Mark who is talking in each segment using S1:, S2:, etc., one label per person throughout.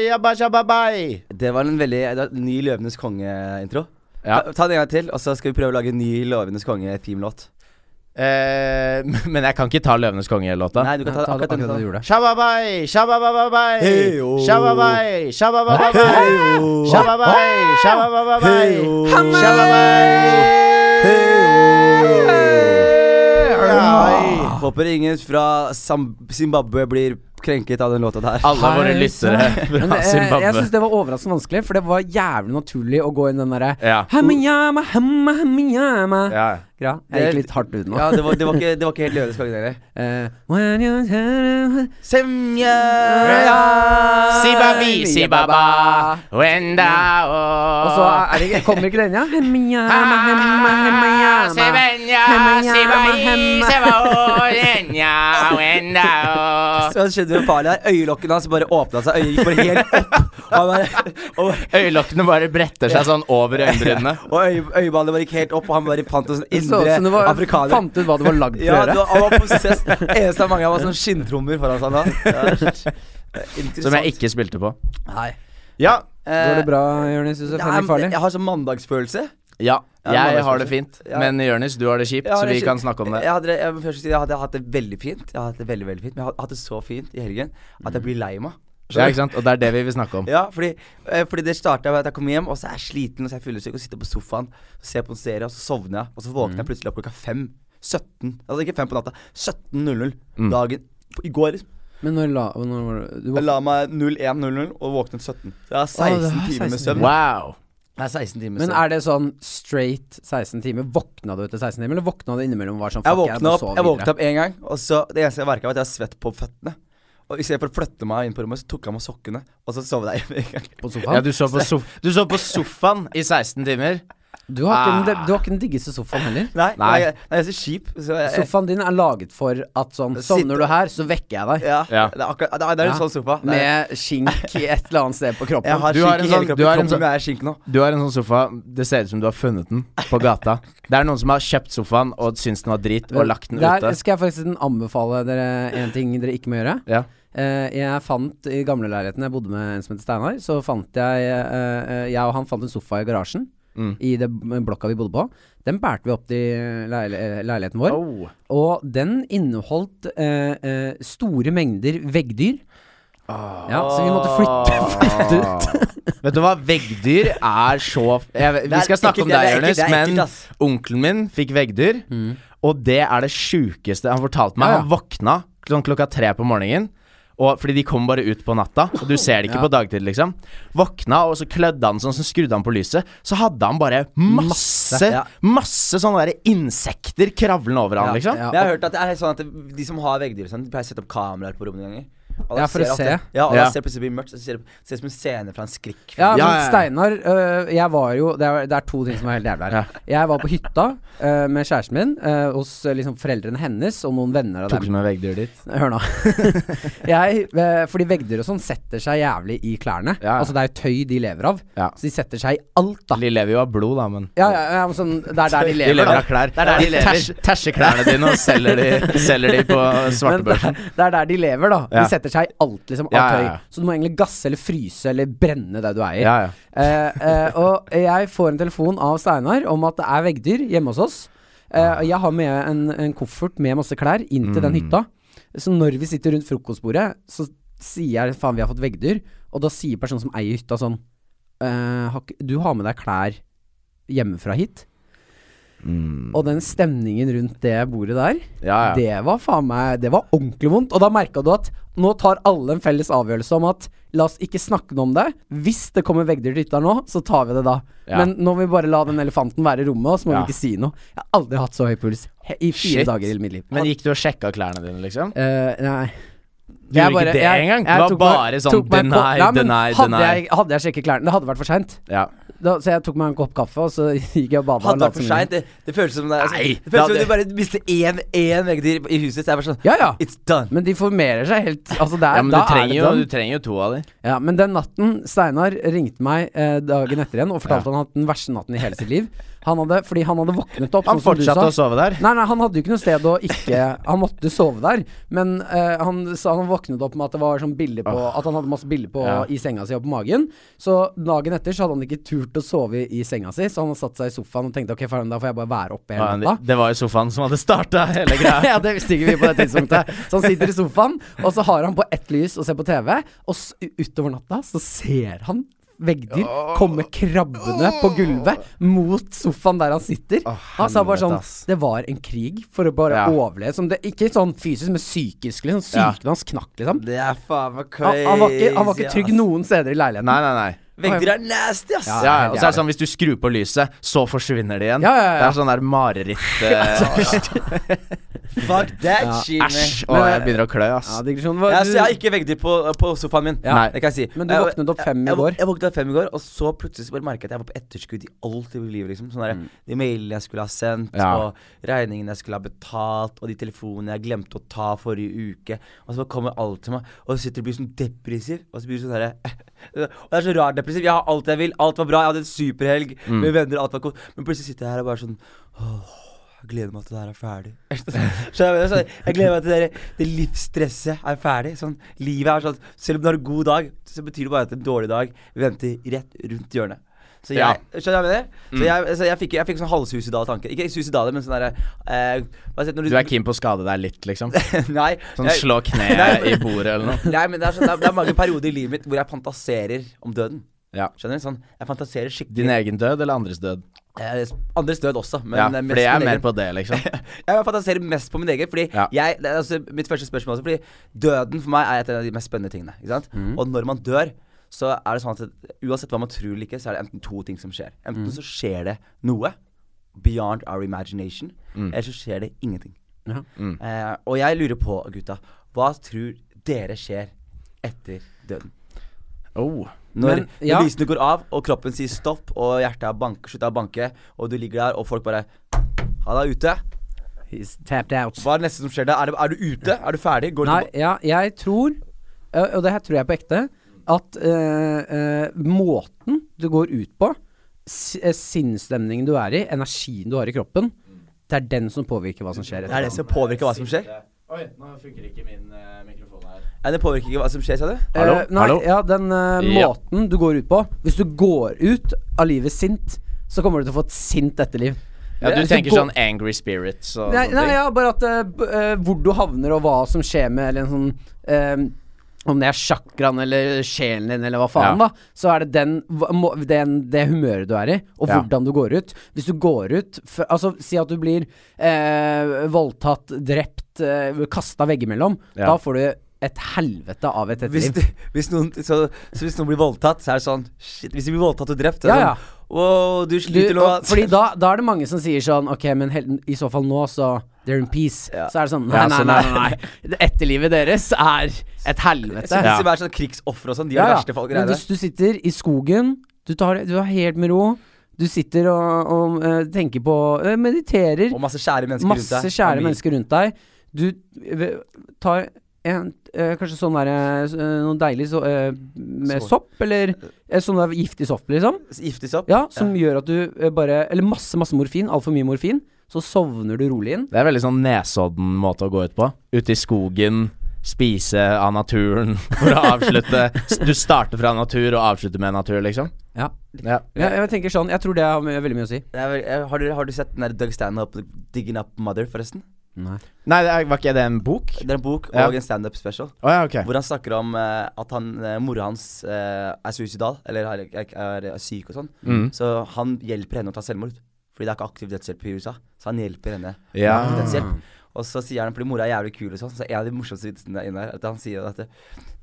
S1: Jababai.
S2: Det var en veldig det var en ny Løvenes konge-intro.
S1: Ja.
S2: Ta- Ta den en gang til, og så skal vi prøve å lage en ny Løvenes konge-teamlåt.
S1: Eh, men jeg kan ikke ta Løvenes konge-låta.
S2: Nei, du kan ta,
S3: Ta det
S2: akkurat den.
S3: akkurat det du
S2: du
S3: gjorde.
S1: Shababai, shabababai,
S2: Heyo.
S1: shababai, shabababai,
S2: Heyo.
S1: shababai, shabababai,
S2: Heyo.
S1: shababai.
S2: gjorde. Håper ingen fra Sam- Zimbabwe blir krenket av den låta der.
S1: Alle våre
S3: Hei,
S1: lyttere
S3: sann. Men,
S1: fra
S3: eh,
S1: Zimbabwe.
S3: Jeg syns det var overraskende vanskelig, for det var jævlig naturlig å gå inn den derre
S1: Ja.
S3: Hamiyama, hamma, hamiyama. Greia. Jeg gikk litt hardt ut nå.
S2: Ja, det var, det var, ikke, det var ikke helt Løvenes konge, det heller.
S3: Eh, when you tell-
S2: Semje!
S1: Sibabi, sibaba, wenda
S3: Og så
S2: Ah.
S3: er det, ikke- kommer ikke den, ja? Hamiyama, hamma, hamiyama. Hamiyama, hamma.
S2: Så det skjedde noe farlig der. Øyelokkene hans bare åpna seg. Øyet gikk bare helt opp. Og, han bare, og,
S1: Øyelokkene bare bretter seg sånn over øyenbrynene.
S2: og øye, øyeballene bare gikk helt opp, og han bare fant en sånn
S3: Det så ut
S2: indre
S3: som du var,
S2: afrikaner.
S3: fant ut hva du var lagd for
S2: Ja,
S3: å
S2: det
S3: gjøre.
S2: var, han var possessed. Eneste av mange var sånn skinntrommer foran seg da.
S1: Som jeg ikke spilte på.
S2: Nei.
S1: Ja.
S2: eh,
S3: Går det bra, Jonis Josef Henrik Farley?
S2: jeg har sånn mandagsfølelse.
S1: ja.
S2: Ja,
S1: Jeg har det
S2: mandagsfølelse.
S1: fint,
S2: Ja.
S1: men Jonis, du har det kjipt,
S2: Jeg har
S1: så vi
S2: ikke-
S1: kan snakke om det.
S2: Jeg hadde, det- jeg, må først si, jeg hadde hatt det veldig fint. Jeg har hatt det veldig, veldig fint Men jeg har hatt det så fint i helgen at
S1: Mm.
S2: jeg blir lei meg.
S1: Ja, ikke sant? Og det er det vi vil snakke om.
S2: Ja, fordi, eh, fordi det starta med at jeg kom hjem, og så er jeg sliten og så er jeg fyllesyk og sitter på sofaen og ser på en serie, og så sovner jeg, og så våkner
S1: Mm.
S2: jeg plutselig opp klokka fem. 17 Altså ikke fem på natta. 17.00
S1: Mm.
S2: dagen I går liksom.
S3: Men når la når, var det- du var,
S2: Jeg la meg 01.00 og våknet 17. Det er 16
S3: det er
S2: timer med
S3: 16
S2: søvn.
S1: Wow.
S2: Det er 16 timer med
S3: Men
S2: søvn.
S3: er det sånn straight 16 timer? Våkna du etter 16 timer, eller våkna du innimellom? og Var sånn, fuck,
S2: Jeg våkna
S3: må
S2: opp,
S3: sove
S2: jeg
S3: videre?
S2: våkna opp en gang, og så det eneste jeg merka, var at jeg var svett på føttene. Og I stedet for å flytte meg inn på rommet, så tok jeg av meg sokkene, og så sovnet jeg med en gang.
S3: på sofaen?
S1: Ja, du så, på sof du så på sofaen i 16 timer.
S3: Du har, ikke den,
S1: Ah.
S3: du har ikke den diggeste sofaen heller.
S2: Nei, nei.
S1: Nei.
S2: jeg, nei jeg er så kjip. Så jeg, jeg,
S3: Sofaen din er laget for at sånn Sovner du her, så vekker jeg deg.
S2: ja,
S1: Ja.
S2: Det er akkurat Det er, det er en
S3: Ja.
S2: sånn sofa. Det er,
S3: Med skink i et eller annet sted på kroppen.
S2: jeg har
S1: Du
S2: skink
S1: har en
S2: i hele
S1: sånn-
S2: kroppen.
S1: du har en
S2: kroppen
S1: sånn-
S2: min er skink nå.
S1: Du har en sånn sofa, det ser ut som du har funnet den på gata. Det er noen som har kjøpt sofaen og syns den var drit, og lagt den
S3: Der
S1: ute.
S3: skal jeg forresten anbefale dere en ting dere ikke må gjøre.
S1: Ja.
S3: Eh, jeg fant I gamleleiligheten jeg bodde med en som heter Steinar, så fant jeg eh, eh, Jeg og han fant en sofa i garasjen. I det blokka vi bodde på. Den bærte vi opp til leil leiligheten vår.
S1: Oh.
S3: Og den inneholdt eh, eh, store mengder veggdyr. Ja, så vi måtte
S1: Ah.
S3: flytte, flytte ut.
S1: Vet du hva, veggdyr er så jeg,
S2: er
S1: Vi skal snakke
S2: ekkelt,
S1: om deg,
S2: det er ekkelt,
S1: Jonis,
S2: det er ekkelt,
S1: men
S2: ass. Mm.
S1: onkelen min fikk veggdyr. Og det er det sjukeste han fortalte meg.
S3: Ja, ja.
S1: Han våkna sånn klokka tre på morgenen. Og, fordi de kommer bare ut på natta, og du ser det ikke på dagtid, liksom. Våkna, og så klødde han sånn, så skrudde han på lyset. Så hadde han bare masse, masse,
S2: ja.
S1: sånne der insekter kravlende over han,
S2: Ja,
S1: liksom.
S2: Men
S3: ja.
S2: jeg har hørt at det er helt sånn at det- de som har veggdyr, og sånn, de pleier å sette opp kameraer på rommene noen ganger. Og da
S3: Ja, for å
S2: ser jeg at
S3: se.
S2: Det, ja, og da
S1: Ja.
S2: ser det plutselig blir mørkt. Så ser det ser det ut som en scene fra en skrekk.
S1: Ja,
S3: Ja, men
S1: ja, ja.
S3: Steinar øh, Jeg var jo det er, det er to ting som er helt jævlig her. Jeg var på hytta øh, med kjæresten min øh, hos øh, liksom foreldrene hennes og noen venner av
S1: Tok du
S3: dem.
S1: med veggdyret ditt?
S3: Hør nå. jeg, øh, fordi veggdyr og sånn setter seg jævlig i klærne.
S1: Ja, ja.
S3: Altså Det er jo tøy de lever av,
S1: Ja.
S3: så de setter seg i alt, da.
S1: De lever jo av blod, da, men
S3: Ja, ja, ja, men sånn, det er der de
S1: De
S3: lever.
S1: lever
S3: da.
S1: av klær.
S3: Det er der de lever.
S1: Tæsj- Tæsjer klærne dine og selger de, selger de på
S3: Men det,
S1: svartebørsen.
S3: er, det er der de lever, da.
S1: Ja.
S3: De setter seg i alt liksom, av
S1: Ja, ja, ja.
S3: tøy. Så du må egentlig gasse eller fryse eller brenne det du eier.
S1: Ja, ja.
S3: Eh, eh, og jeg får en telefon av Steinar om at det er veggdyr hjemme hos oss.
S1: Ah.
S3: Eh, og jeg har med en, en koffert med masse klær inn
S1: Mm.
S3: til den hytta. Så når vi sitter rundt frokostbordet, så sier jeg faen, vi har fått veggdyr. Og da sier personen som eier hytta sånn eh, har ikke- Du har med deg klær hjemmefra hit?
S1: Mm.
S3: Og den stemningen rundt det bordet der,
S1: Ja, ja.
S3: det var faen meg Det var ordentlig vondt. Og da merka du at nå tar alle en felles avgjørelse om at la oss ikke snakke noe om det. Hvis det kommer veggdyr til hytta nå, så tar vi det da.
S1: Ja.
S3: Men nå må vi bare la den elefanten være i rommet, og så må
S1: Ja.
S3: vi ikke si noe. Jeg har aldri hatt så høy puls he- i fire
S1: Shit.
S3: dager i mitt liv.
S1: Men gikk du og sjekka klærne dine, liksom?
S3: Eh, nei.
S1: Du gjorde ikke det engang? Det var bare sånn deny, deny,
S3: hadde
S1: deny.
S3: Jeg, hadde jeg sjekket klærne Det hadde vært for seint.
S1: Ja.
S3: Så jeg tok meg en kopp kaffe, og så gikk jeg og bada.
S2: Hadde vært for seint. Det, det føles som det, er-
S1: Nei,
S2: det føles
S1: det
S2: som
S1: hadde-
S2: du bare mister én, én veggdyr i huset. Så jeg bare sånn
S3: Ja, ja.
S2: It's done.
S3: Men de formerer seg helt Altså, det er,
S1: ja, men du
S3: da er
S1: trenger,
S3: det
S1: jo,
S3: done.
S1: du trenger jo to av de.
S3: Ja, men den natten Steinar ringte meg eh, dagen etter igjen og fortalte han at den verste natten i hele sitt liv Han hadde, fordi han hadde våknet opp,
S1: Han
S3: sånn som du
S1: fortsatte å
S3: sa.
S1: sove der.
S3: Nei, nei, han hadde jo ikke noe sted å ikke Han måtte sove der, men eh, han sa han våknet opp med at det var sånn bilder på At han hadde masse bilder på
S1: Ja.
S3: i senga si og på magen. Så dagen etter så hadde han ikke turt å sove i, i senga si, så han satte seg i sofaen og tenkte ok, faen, da får jeg bare være oppe
S1: Ja,
S3: hele natta.
S1: det var jo sofaen som hadde starta hele greia.
S3: ja, det visste ikke vi på det tidspunktet. Så han sitter i sofaen, og så har han på ett lys og ser på TV, og s utover natta så ser han veggdyr komme krabbende på gulvet mot sofaen der han sitter. han sa bare
S1: helvete,
S3: sånn
S1: ass.
S3: Det var en krig for å bare
S1: Ja.
S3: overleve. Som det, ikke sånn fysisk, men psykisk. Liksom.
S1: Ja.
S3: Psyken hans knakk, liksom.
S2: Det er faen meg
S3: Han,
S2: crazy.
S3: han, var ikke, han var ikke trygg
S2: ass.
S3: noen steder i leiligheten.
S1: Nei, nei, nei.
S2: Vegger er nasty, ass.
S1: Ja,
S3: Ja,
S1: ja, og så er det sånn hvis du skrur på lyset, så forsvinner det igjen.
S3: Ja, ja, ja.
S1: Det er sånn der mareritt eh,
S2: Fuck that
S3: Ja,
S2: shit.
S1: Æsj!
S2: Æsj.
S1: Og jeg begynner å klø,
S3: Ja,
S1: ass.
S3: digresjonen var
S2: Jeg,
S3: du-
S2: jeg har ikke veggdyr på, på sofaen min.
S3: Ja.
S2: Det kan jeg si.
S3: Men du
S2: Jeg-
S3: våknet opp fem i
S2: jeg,
S3: går.
S2: Jeg, våknet opp fem i går, og så plutselig så bare merket jeg at jeg var på etterskudd i alt i livet. liksom Sånn der, De mailene jeg skulle ha sendt,
S1: Ja.
S2: og regningene jeg skulle ha betalt, og de telefonene jeg glemte å ta forrige uke. Og så bare kommer alt til meg, og så sitter du og blir sånn depressiv. Og så blir du sånn derre Og det er så rart depressiv. Jeg har alt jeg vil, alt var bra, jeg hadde en superhelg med venner, alt var godt. Men plutselig sitter jeg her og bare sånn åh, jeg gleder meg til det her er ferdig. Skjønner du hva jeg, mener? Sånn, jeg gleder meg til det, der- det livsstresset er ferdig. Sånn, livet er sånn Selv om du har en god dag, så betyr det bare at en dårlig dag venter rett rundt hjørnet. Så jeg,
S1: Ja. Mm.
S2: Skjønner du hva jeg mener? Så jeg, så jeg, fikk, jeg fikk sånn halvsuicidale tanker. Ikke suicidale, men sånn derre eh, hva heter det når
S1: Du er keen på å skade deg litt, liksom?
S2: Nei.
S1: Sånn
S2: jeg-
S1: slå kneet i bordet eller noe?
S2: Nei, men det er, sånn, det, er, det er mange perioder i livet mitt hvor jeg fantaserer om døden.
S1: Ja.
S2: Skjønner du? Sånn, jeg fantaserer
S1: Din
S2: skikkelig.
S1: egen død eller andres død?
S2: Eh, andres død også, men
S1: Ja,
S2: eh, mest
S1: fordi jeg er
S2: min
S1: mer
S2: egen.
S1: på det, liksom.
S2: Jeg fantaserer mest på min egen. Fordi
S1: Ja.
S2: jeg, det er altså Mitt første spørsmål også, Fordi døden for meg er et av de mest spennende tingene. Ikke sant?
S3: Mhm.
S2: Og når man dør, så er det sånn at uansett hva man tror eller ikke, så er det enten to ting som skjer.
S3: Mhm.
S2: Enten så skjer det noe beyond our imagination, eller så skjer det ingenting.
S3: Mm. Ja. Mm.
S2: Eh, og jeg lurer på, gutta, hva tror dere skjer etter døden?
S1: Oh.
S2: Når
S3: Men, ja.
S2: lysene går av, og kroppen sier stopp, og hjertet er bank, slutter å banke, og du ligger der, og folk bare Ha deg ute.
S3: He's tapped out.
S2: Hva er det neste som skjer da? Er, det, er du ute? Er du ferdig? Går
S3: Nei,
S2: du
S3: ja, jeg tror, ø, og det her tror jeg på ekte, at eh, eh, måten du går ut på, si- eh, sinnsstemningen du er i, energien du har i kroppen, det er den som påvirker hva som
S2: Det
S3: skjer.
S2: er det
S3: etterpå.
S2: som påvirker hva som skjer?
S1: Oi, nå funker ikke min eh, mikrofon her.
S2: Nei, det påvirker ikke hva som skjer, sa du?
S3: Eh,
S1: Hallo?
S3: nei,
S1: Hallo?
S3: Ja, den eh,
S1: Ja.
S3: måten du går ut på. Hvis du går ut av livet sint, så kommer du til å få et sint etterliv.
S1: Ja,
S3: Eh,
S1: du
S3: hvis
S1: tenker
S3: går-
S1: sånn angry spirits og
S3: Nei,
S1: sånne
S3: nei
S1: ting?
S3: ja, bare at eh, b eh, hvor du havner og hva som skjer med eller en sånn eh, Om det er chakraen eller sjelen din eller hva faen,
S1: Ja.
S3: da. Så er det den, hva- må- den, det humøret du er i, og
S1: Ja.
S3: hvordan du går ut. Hvis du går ut f Altså, si at du blir eh, voldtatt, drept, eh, kasta veggimellom.
S1: Ja.
S3: Da får du et helvete av et
S2: Hvis,
S3: etterliv.
S2: du, hvis, noen, så, så hvis noen blir voldtatt, så er det sånn Shit, hvis de blir voldtatt og drept, så er det
S3: Ja, ja.
S2: sånn Wow, du
S3: Du,
S2: sliter nå.
S3: og,
S2: ass».
S3: fordi da, da er det mange som sier sånn Ok, men hel, i så fall nå, så They're in peace.
S2: Ja.
S3: Så er det sånn Nei,
S1: Ja,
S3: nei,
S1: sånn
S3: nei.
S1: er-
S3: nei, nei. Det Etterlivet deres er et helvete.
S2: så
S1: Ja.
S2: hvis de er sånn krigsofre og sånn, de er de verste folk
S3: Men
S2: greiene.
S3: hvis du sitter i skogen, du tar du er helt med ro, du sitter og, og eh, tenker på eh, Mediterer.
S2: Og masse kjære mennesker rundt
S3: masse
S2: deg.
S3: kjære
S2: Og mye-
S3: mennesker rundt deg. Du eh, tar en, eh, kanskje sånn der eh, Noe deilig så, eh, med
S2: Sopp.
S3: sopp, eller eh, sånn der giftig sopp, liksom.
S2: Giftes opp.
S3: Ja, som gjør at du eh, bare Eller masse, masse morfin. Altfor mye morfin. Så sovner du rolig inn.
S1: Det er veldig sånn Nesodden måte å gå ut på. Ute i skogen, spise av naturen for å avslutte. S- Du starter fra natur og avslutter med natur, liksom.
S3: Ja.
S1: Ja.
S3: Jeg, jeg tenker sånn Jeg tror det har mye- veldig mye å si.
S2: Det er vel- eh, Har, dere- har du sett den der Doug Stanhope, 'Digging Up Mother', forresten?
S1: Nei, det er, var ikke det en bok?
S2: Det er en bok
S1: Ja.
S2: og en standup special.
S1: Å ja, ok.
S2: Hvor han snakker om eh, at han, eh, mora hans eh, er suicidal, eller er, er, er, er syk og sånn. Så han hjelper henne å ta selvmord. Fordi det er ikke aktiv dødshjelp i USA. Så han hjelper henne. med
S1: Ja.
S2: aktiv dødshjelp. Og så sier han, fordi mora er jævlig kul og sånn, så en av de morsomste vitsene inne her, er at han sier at det-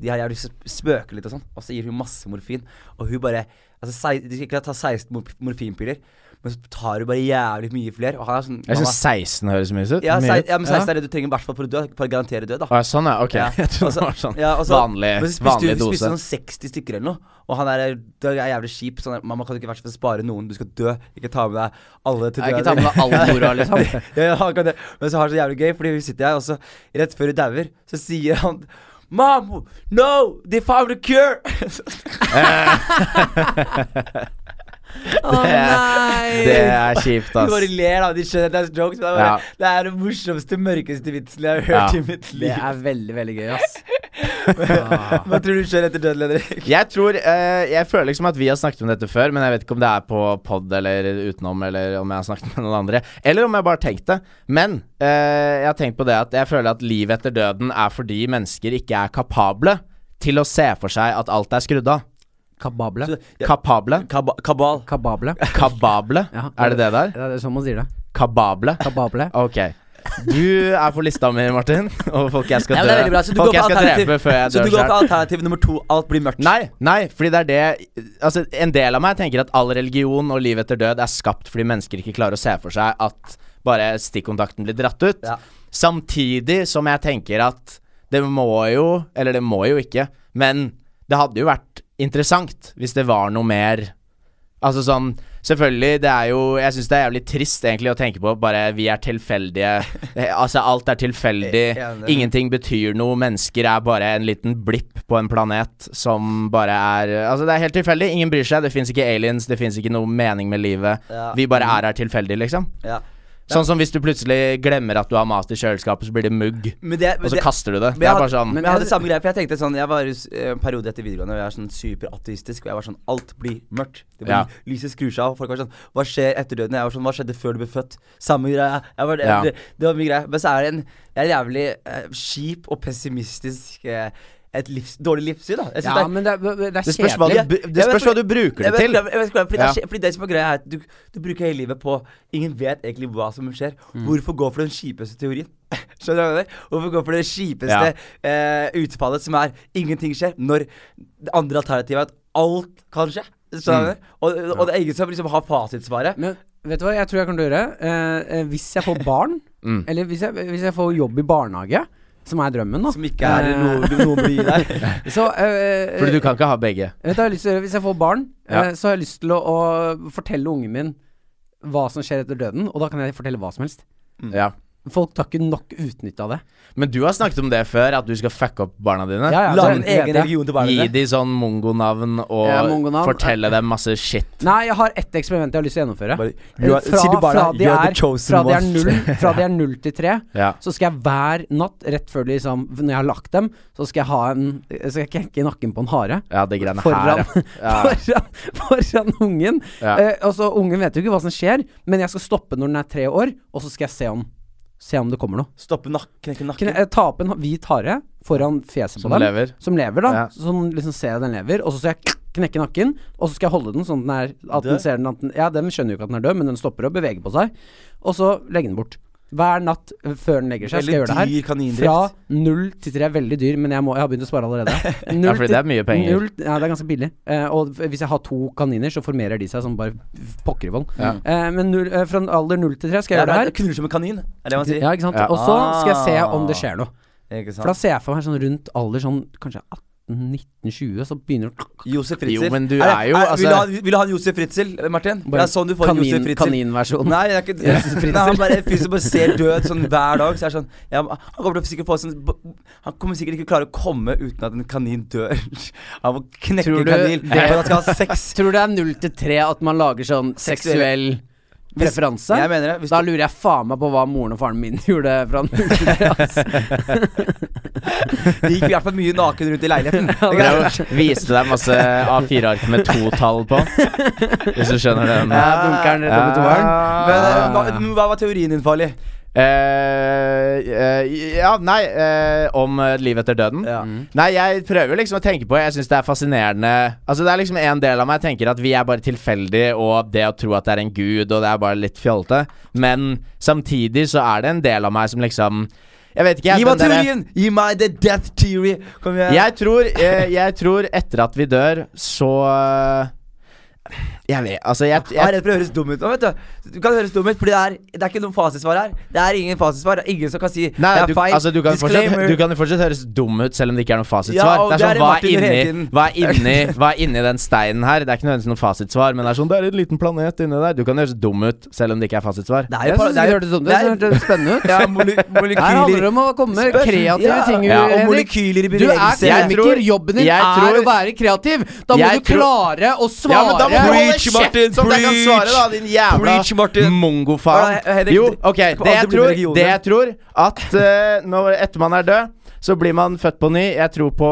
S2: de her jævlig sp- spøker litt og sånn, og så gir hun masse morfin. Og hun bare Altså, sei, de skal ikke ta 16 morf- morfinpiller, men så tar hun bare jævlig mye flere. Og han er sånn
S1: Jeg
S2: han
S1: syns 16 høres mye ut.
S2: er- ja,
S1: mye
S2: sei,
S1: ut.
S2: ja, men 16 er det du trenger i hvert fall for å dø, for å garantere død, da.
S1: Å ja, sånn ja, ok.
S2: Ja,
S1: Jeg trodde det
S2: altså-
S1: var sånn
S2: ja, altså-
S1: vanlig,
S2: Men så spiste
S1: vanlig
S2: du,
S1: dose.
S2: spiste sånn 60 stykker eller noe, og han er, det er jævlig kjip. Sånn, der, Mamma, kan du ikke i hvert fall spare noen? Du skal dø. Ikke ta med deg alle til
S3: Jeg ikke
S2: døden.
S3: ta med deg all mora, liksom.
S2: ja, ja, han kan det. Men så har han så jævlig gøy, fordi hun sitter her, og så rett før hun dauer, så sier han Mom, no, they found a cure!
S3: Å nei!
S1: Det er kjipt,
S2: De bare
S1: ass.
S2: ler av de skjønnhetens jokes. Men det, er bare,
S1: Ja.
S2: det er den morsomste, mørkeste vitsen jeg har hørt
S1: Ja.
S2: i mitt
S3: Det
S2: liv.
S3: er veldig, veldig gøy, ass. Ah.
S2: Hva tror du skjer etter døden, Henrik?
S1: Jeg tror eh, Jeg føler liksom at vi har snakket om dette før, men jeg vet ikke om det er på pod eller utenom, eller om jeg har snakket med noen andre, eller om jeg bare har tenkt det. Men eh, jeg har tenkt på det at jeg føler at livet etter døden er fordi mennesker ikke er kapable til å se for seg at alt er skrudd av.
S3: Kabable.
S1: Kapable?
S2: Kaba kabal.
S3: Kabable.
S1: Kabable?
S3: Ja.
S1: Er det det der?
S3: Ja, det er sånn man sier det.
S1: Kabable?
S3: Kabable.
S1: Ok. Du er på lista mi, Martin, og folk jeg skal
S2: Ja,
S1: dø
S2: men det er veldig bra. Så du
S1: Folk
S2: går
S1: jeg
S2: for
S1: skal drepe
S2: alternativ,
S1: før jeg
S2: så
S1: dør
S2: du går
S1: selv.
S2: for alternativ nummer to. Alt blir mørkt.
S1: Nei, nei, fordi det er det Altså, en del av meg tenker at all religion og liv etter død er skapt fordi mennesker ikke klarer å se for seg at bare stikkontakten blir dratt ut.
S2: Ja.
S1: Samtidig som jeg tenker at det må jo Eller det må jo ikke, men det hadde jo vært interessant hvis det var noe mer Altså sånn Selvfølgelig, det er jo Jeg syns det er jævlig trist egentlig å tenke på bare vi er tilfeldige. Eh, Altså, alt er tilfeldig.
S2: Ja, det-
S1: Ingenting betyr noe. Mennesker er bare en liten blipp på en planet som bare er Altså, det er helt tilfeldig. Ingen bryr seg. Det fins ikke aliens. Det fins ikke noe mening med livet.
S2: Ja. Mm.
S1: Vi bare er her tilfeldig, liksom.
S2: Ja.
S1: Sånn som hvis du plutselig glemmer at du har mat i kjøleskapet, så blir det mugg,
S2: Men det,
S1: og
S2: men
S1: så
S2: det,
S1: kaster du det.
S2: men
S1: Det
S2: jeg
S1: er
S2: hadde,
S1: bare sånn
S2: men jeg hadde samme greie, for jeg tenkte sånn Jeg var i s- eh, en periode etter videregående og jeg var sånn superateistisk. Og jeg var sånn Alt blir mørkt. Det blir,
S1: Ja.
S2: Lyset skrur seg av. og Folk var sånn Hva skjer etter døden? Jeg var sånn Hva skjedde før du ble født? Samme greia. Jeg var,
S1: Ja.
S2: det, det var mye greier. Men så er det en Jeg er jævlig eh, kjip og pessimistisk eh, Et livs, dårlig livssyn, da. Jeg synes
S3: Ja,
S2: det er
S3: men det er, det er
S1: Det spørs hva du,
S3: kjedelig.
S2: Jeg-
S1: br- det
S2: jeg vet
S1: spørs hva du
S2: fordi-
S1: bruker det
S2: Jeg vet-
S1: til.
S2: jeg vet- jeg vet ikke hva- Fordi,
S1: Ja.
S2: det, er skje- fordi det som er greia er at du, du bruker hele livet på Ingen vet egentlig hva som skjer.
S3: Mm.
S2: Hvorfor gå for den kjipeste teorien? Skjønner du hva jeg mener? Hvorfor gå for det kjipeste eh, utfallet som er ingenting skjer, når det andre alternativet er at alt kan skje?
S3: Mm.
S2: Skjønner du hva jeg mener? Og, og det er ingen som liksom har fasitsvaret.
S3: Men vet du hva jeg tror jeg kommer til å gjøre? Eh, eh, hvis jeg får barn,
S1: Mm.
S3: eller hvis jeg, hvis jeg får jobb i barnehage, som er drømmen, da
S2: Som ikke er noe, noe bli der.
S3: Så eh,
S1: Fordi du kan ikke ha begge.
S3: Vet du hva jeg har lyst til å gjøre? Hvis jeg får barn,
S1: Ja.
S3: eh, så har jeg lyst til å, å fortelle ungen min hva som skjer etter døden, og da kan jeg fortelle hva som helst.
S1: Ja.
S3: Folk tar ikke nok utnytte av det.
S1: Men du har snakket om det før, at du skal fucke opp barna dine.
S3: Ja, ja,
S2: Lage
S3: det
S2: en
S3: vet jeg.
S2: egen religion til barna
S1: Gi
S2: dine.
S1: de sånn mongonavn og
S3: Ja, mongonavn.
S1: fortelle dem masse shit.
S3: Nei, jeg har ett eksperiment jeg har lyst til å gjennomføre.
S2: Bare, you are-
S3: Eh,
S2: sier du bare,
S3: fra, de
S2: "You are the
S3: er,
S2: chosen
S3: fra, de er
S2: one."
S3: null, fra de er null til tre,
S1: Ja.
S3: så skal jeg hver natt, rett før de liksom, når jeg har lagt dem, så skal jeg ha en Så skal jeg knekke nakken på en hare.
S1: Ja, det greiene
S3: Foran,
S1: her, ja. ja.
S3: foran, foran ungen.
S1: Ja.
S3: Eh, og så Ungen vet jo ikke hva som skjer, men jeg skal stoppe når den er tre år, og så skal jeg se om, se om det kommer noe.
S2: Stoppe nakken, knekke
S3: Kan
S2: nakken.
S3: jeg- eh, Ta opp en hvit hare foran fjeset
S1: Som
S3: på dem,
S1: lever.
S3: som lever da.
S1: Ja.
S3: Som liksom ser at den lever, og så skal jeg knekke nakken, og så skal jeg holde den sånn at den er at den
S2: Død?
S3: ser den, at den, Ja, den skjønner jo ikke at den er død, men den stopper å bevege på seg. Og så legge den bort. Hver natt eh, før den legger seg, skal jeg
S2: Veldig
S3: gjøre det her.
S2: dyr kanindrift.
S3: Fra null til tre. Veldig dyr, men jeg, må, jeg har begynt å spare allerede. Null
S1: Ja, fordi det er mye penger.
S3: Null, ja, det er ganske billig. Eh, og f- hvis jeg har to kaniner, så formerer de seg som bare pokker i vold.
S1: Ja.
S3: Eh, men null, eh, fra alder null til tre skal
S2: Ja,
S3: jeg gjøre
S2: det
S3: det her.
S2: er Knuller som en kanin, er det man sier.
S3: Ja, ikke sant?
S1: Ja.
S3: Og så skal jeg
S2: Ah.
S3: se om det skjer noe.
S2: Ikke sant?
S3: For da ser jeg for meg sånn rundt alder sånn kanskje 18-19-20, så begynner det å-
S2: Josef Fritzel.
S1: Jo, men du
S2: det-
S1: er jo, altså-
S2: vil, du ha, vil du ha en Josef Fritzel, Martin? det
S3: Bare
S2: er sånn du får en Josef Fritzel.
S3: Kaninversjonen.
S2: Nei, det er ikke
S3: Josef Fritzl.
S2: Nei, han bare, en fyr som bare ser død sånn hver dag. Så er det sånn ja, men Han kommer til å sikkert få sånn b- Han kommer sikkert ikke klare å komme uten at en kanin dør. Han må knekke
S1: Tror
S2: en
S1: du
S2: kanin
S1: det-
S2: for at han skal ha sex.
S3: Tror du det er null til tre at man lager sånn seksuell
S2: Seksuell-
S3: preferanse?
S2: Jeg mener det. Hvis
S3: Da
S2: du,
S3: lurer jeg faen meg på hva moren og faren min gjorde fra null til tre. altså. ass.
S2: det gikk i hvert fall mye naken rundt i leiligheten. Det kan jeg si.
S1: Jeg viste deg masse A4-ark med to tall på, hvis du skjønner den.
S3: Jeg dunker den rett opp i toeren.
S2: Men, eh,
S1: Ja.
S2: hva- men hva var teorien din, Farlig?
S1: Eh, eh, ja, nei eh, Om eh, livet etter døden?
S2: Ja.
S1: Nei, jeg prøver liksom å tenke på Jeg synes det er fascinerende Altså det er liksom en del av meg tenker at vi er bare tilfeldige Og det å tro at det er en gud Og det er bare litt fjolte Men samtidig så er det en del av meg som liksom Jeg vet ikke jeg,
S2: Gi meg
S1: den derre-
S2: teorien! Gi meg the death theory! Kom igjen.
S1: jeg tror, eh, jeg tror etter at vi dør Så eh, Jeg vet, altså jeg,
S2: Jeg er
S1: jeg,
S2: redd for å høres dum ut nå, vet du. Du kan høres dum ut, fordi det er, det er ikke noen fasitsvar her. Det er ingen fasitsvar. Det er ingen som kan si
S1: Nei,
S2: det er
S1: du,
S2: feil.
S1: altså, du, kan fortsatt,
S2: Disclaimer.
S1: du kan jo fortsatt høres dum ut selv om det ikke er noe fasitsvar.
S2: Ja, og
S1: det er
S2: det er
S1: sånn,
S2: det
S1: hva
S2: Martin gjør
S1: er, inni,
S2: hele tiden.
S1: hva, er inni, hva er inni den steinen her? Det er ikke nødvendigvis noe fasitsvar, men det er sånn, det er en liten planet inni der. Du kan høres dum ut selv om det ikke er fasitsvar.
S2: Det er
S3: Jeg
S2: jo
S3: synes
S2: bare- det
S3: det
S2: er-
S3: hørtes sånn ut.
S2: det
S3: Det
S2: er-
S3: hørtes spennende ut.
S2: Ja, mole
S3: Her handler det
S2: molekyler
S3: om å komme med
S2: Spør-
S3: kreative
S2: Ja,
S3: ting.
S1: ja, og
S3: Henrik.
S2: molekyler i
S3: Du er
S2: bevegelse.
S1: Jeg
S3: kemiker,
S1: tror-
S3: jobben din
S1: jeg
S3: er
S1: tror-
S3: å være kreativ. Da må
S1: Jeg
S3: du
S1: tror-
S3: klare å svare
S1: Ja, men da må du holde
S2: Preach, Martin!
S1: som deg kan
S2: preach!
S1: svare, da, din jævla
S2: Preach, Martin!
S1: mongofaen.
S2: Ja, Henrik,
S1: Jo,
S2: det-
S1: ok,
S2: det kan
S1: det jeg
S2: aldri bli
S1: tror,
S2: religioner.
S1: det jeg tror at eh, når etter man er død, så blir man født på ny. Jeg tror på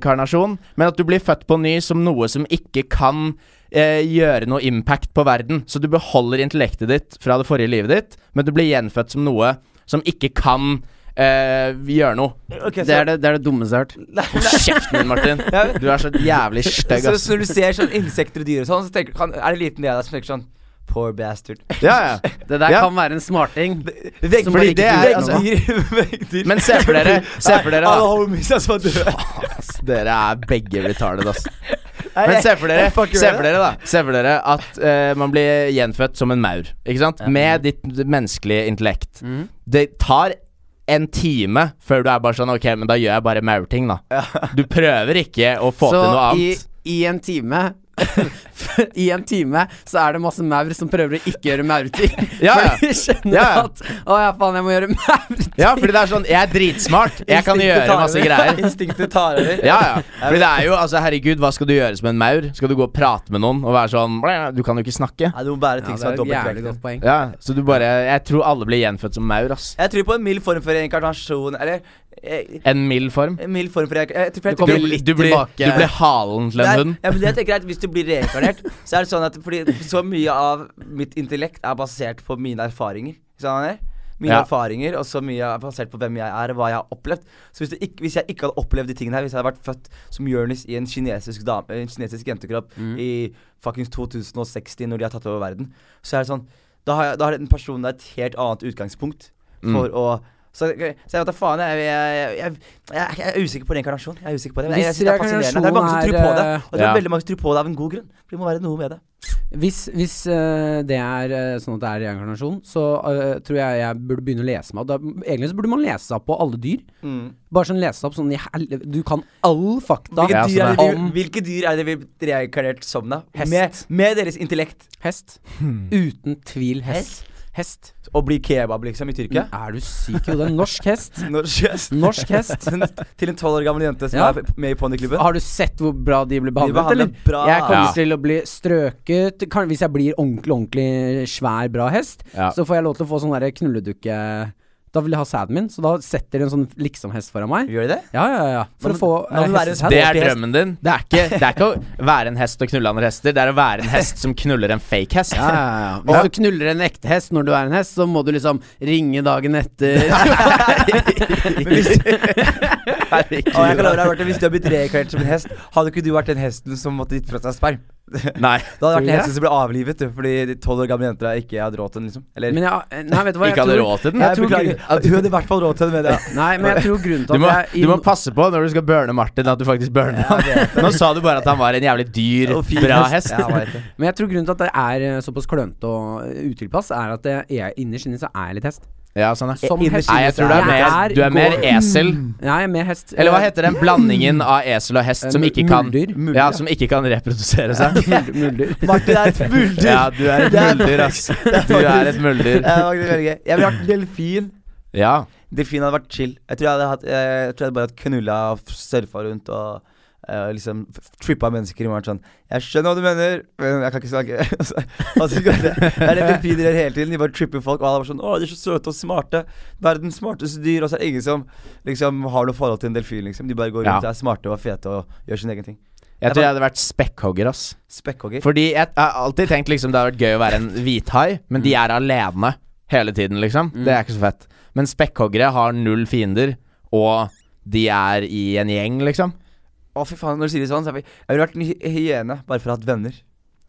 S1: reinkarnasjon, men at du blir født på ny som noe som ikke kan eh, gjøre noe impact på verden. Så du beholder intellektet ditt fra det forrige livet ditt, men du blir gjenfødt som noe som ikke kan eh, gjøre noe.
S2: Ok, så-
S1: det, er det, det er det dummeste jeg har hørt. Hold kjeften din, Martin. Du er så jævlig stygg,
S2: Så,
S1: ass.
S2: så når du ser sånn insekter og dyr og sånn, så tenker, du- kan, er det liten del av deg som tenker sånn Poor bastard.
S1: Ja, ja.
S3: Det der
S1: Ja.
S3: kan være en smarting.
S2: Vegg,
S1: Fordi det er- altså-
S2: veggdyr, veggdyr.
S1: Men se for dere, se for dere
S2: Alle
S1: da.
S2: homies altså, er så døde.
S1: Ass, Dere er begge retarded, ass. Men se for dere,
S2: jeg fucker
S1: se
S2: med
S1: for dere, da. Se for dere at eh, man blir gjenfødt som en maur. Ikke sant? Med ditt menneskelige intellekt. Det tar en time før du er bare sånn Ok, men da gjør jeg bare maurting, da. Du prøver ikke å få til noe
S3: Så i,
S1: annet.
S3: i en time I en time så er det masse maur som prøver å ikke gjøre maurting.
S1: Ja, ja.
S3: For de skjønner
S1: Ja, ja.
S3: at Å ja, faen, jeg må gjøre maurting.
S1: Ja, fordi det er sånn Jeg er dritsmart. Jeg kan
S2: Instinktet
S1: gjøre
S2: tar
S1: masse
S2: over.
S1: greier.
S2: Instinktet tar over.
S1: Ja, ja. Fordi det er jo Altså, herregud, hva skal du gjøre som en maur? Skal du gå og prate med noen og være sånn "Blæ, Du kan jo ikke snakke.
S2: Nei, du må bære ting
S3: Ja,
S2: som er
S3: det er et
S2: dobbelt
S3: jævlig
S2: vekt.
S3: godt poeng.
S1: Ja, så du bare Jeg tror alle blir gjenfødt som maur, ass.
S2: Jeg tror på en mild form for reinkarnasjon. Eller eh,
S1: En mild form.
S2: en mild form for reinkarnasjon.
S1: Du,
S3: kommer
S1: blir-
S3: litt
S1: du, blir,
S3: tilbake.
S1: du blir halen til en hund.
S2: Ja, men det jeg tenker er at Hvis du blir reinkarnert, så er det sånn at Fordi så mye av mitt intellekt er basert på mine erfaringer. Ikke sant, Daniel? Mine
S1: Ja.
S2: erfaringer, og så mye er basert på hvem jeg er, og hva jeg har opplevd. Så hvis, du ikke, hvis jeg ikke hadde opplevd de tingene her, hvis jeg hadde vært født som Jonis i en kinesisk, dame, en kinesisk jentekropp i fuckings 2060, når de har tatt over verden, så er det sånn Da har, jeg, da har den personen et helt annet utgangspunkt
S1: Mm.
S2: for å så, så jeg vet da faen, jeg, jeg, jeg, jeg, jeg er usikker på reinkarnasjon. Jeg er usikker på det, men jeg, jeg synes det er fascinerende. Det er mange som tror på det. Og det
S1: Ja.
S2: er veldig mange som tror på det av en god grunn. For Det må være noe med det.
S3: Hvis, hvis eh, det er eh, sånn at det er reinkarnasjon, så eh, tror jeg jeg burde begynne å lese meg opp. Da- Egentlig så burde man lese seg opp på alle dyr.
S2: Mm.
S3: Bare sånn lese seg opp sånn i helvete Du kan all fakta
S1: Ja,
S2: Hvilke, dyr,
S1: sånn er
S2: er det,
S3: om
S2: vi- hvilke dyr er det vi blir reinkarnert som, da?
S3: Hest.
S2: Med, med deres intellekt.
S3: hest.
S2: Hmm.
S3: Uten tvil hest. Hest.
S2: Og bli kebab, liksom, i Tyrkia.
S3: Er du syk i hodet? Norsk hest.
S2: Norsk hest.
S3: Norsk hest.
S2: Til en tolv år gammel jente som
S3: Ja.
S2: er med i ponniklubben.
S3: Har du sett hvor bra de blir behandlet?
S2: behandlet
S3: eller?
S2: bra.
S3: Jeg kommer
S1: Ja.
S3: til å bli strøket. Kan, hvis jeg blir ordentlig, ordentlig svær, bra hest,
S1: Ja.
S3: så får jeg lov til å få sånn derre knulledukke Da vil jeg ha sæden min, så da setter de en sånn liksom-hest foran meg.
S2: Gjør de det?
S3: Ja, ja, ja. For
S2: Nå må-
S3: å få
S2: nå må
S3: eh,
S2: du være
S3: hestesæd.
S1: Det er
S2: Hest.
S1: drømmen din. Det er, ikke, det er ikke å være en hest og knulle andre hester. Det er å være en hest som knuller en fake hest.
S3: Ja, ja, ja. Hvis
S1: Ja.
S3: du knuller en ekte hest når du er en hest, så må du liksom ringe dagen etter.
S2: Og jeg kan love deg, Martin, Hvis du har blitt reinkarnert som en hest, hadde ikke du vært den hesten som måtte gitt fra seg sperm?
S1: Nei.
S2: Da hadde du vært
S3: Tror du
S2: den hesten som ble avlivet du, fordi tolv år gamle jenter ikke hadde råd til den, liksom. Eller
S3: Men jeg, nei, vet du hva, jeg
S1: Ikke hadde
S3: tror-
S1: råd til den.
S3: jeg
S2: Nei,
S3: tror
S2: beklager. Du hadde i hvert fall råd til det, mener jeg.
S3: Nei, men jeg tror grunnen til
S1: Du
S3: at
S1: må,
S3: jeg
S1: du må passe på når du skal burne Martin, at du faktisk burner
S2: Ja, jeg vet
S1: han. Nå sa du bare at han var en jævlig dyr,
S2: Og fin
S1: bra
S2: hest.
S1: hest.
S2: Ja, jeg vet det.
S3: Men jeg tror grunnen til at det er eh, såpass klønete og eh, utilpass, er at jeg, jeg innerst inne så er jeg litt hest.
S1: Ja, sånn er.
S3: Som
S2: innerst
S3: hest.
S1: Nei, jeg tror du er mer, du er mer esel.
S3: Nei, jeg er mer hest. eh,
S1: Eller hva heter den blandingen av esel og hest som ikke kan
S3: Muldyr.
S1: Ja, som ikke kan reprodusere seg?
S3: Muld- Muldyr.
S2: Martin er et muldyr.
S1: Ja, du er et
S2: Det er
S1: muldyr, ass. Du er et muldyr.
S2: Det er faktisk veldig gøy. Jeg ville vært delfin.
S1: Ja.
S2: Delfin hadde vært chill. Jeg tror jeg hadde, hatt, eh, jeg tror jeg hadde bare hatt knulla og surfa rundt og eh, liksom f- trippa mennesker i morgen sånn Jeg skjønner hva du mener, men jeg kan ikke snakke. Altså, altså, ikke sant? det er det delfiner gjør hele tiden. De bare tripper folk. Og alle er bare sånn Å, de er så søte og smarte. Verdens smarteste dyr. Og så er det ingen som liksom har noe forhold til en delfin, liksom. De bare går
S1: Ja.
S2: rundt og er smarte og fete og gjør sin egen ting.
S1: Jeg tror jeg hadde vært spekkhogger, ass.
S2: Spekkhogger.
S1: Fordi jeg, jeg har alltid tenkt liksom det hadde vært gøy å være en hvithai, men
S2: Mm.
S1: de er alene hele tiden, liksom. Det er ikke så fett. Men spekkhoggere har null fiender, og de er i en gjeng, liksom.
S2: Å, fy faen, når du sier det sånn, så er vi Jeg ville vært en hy- hyene bare for å ha hatt venner.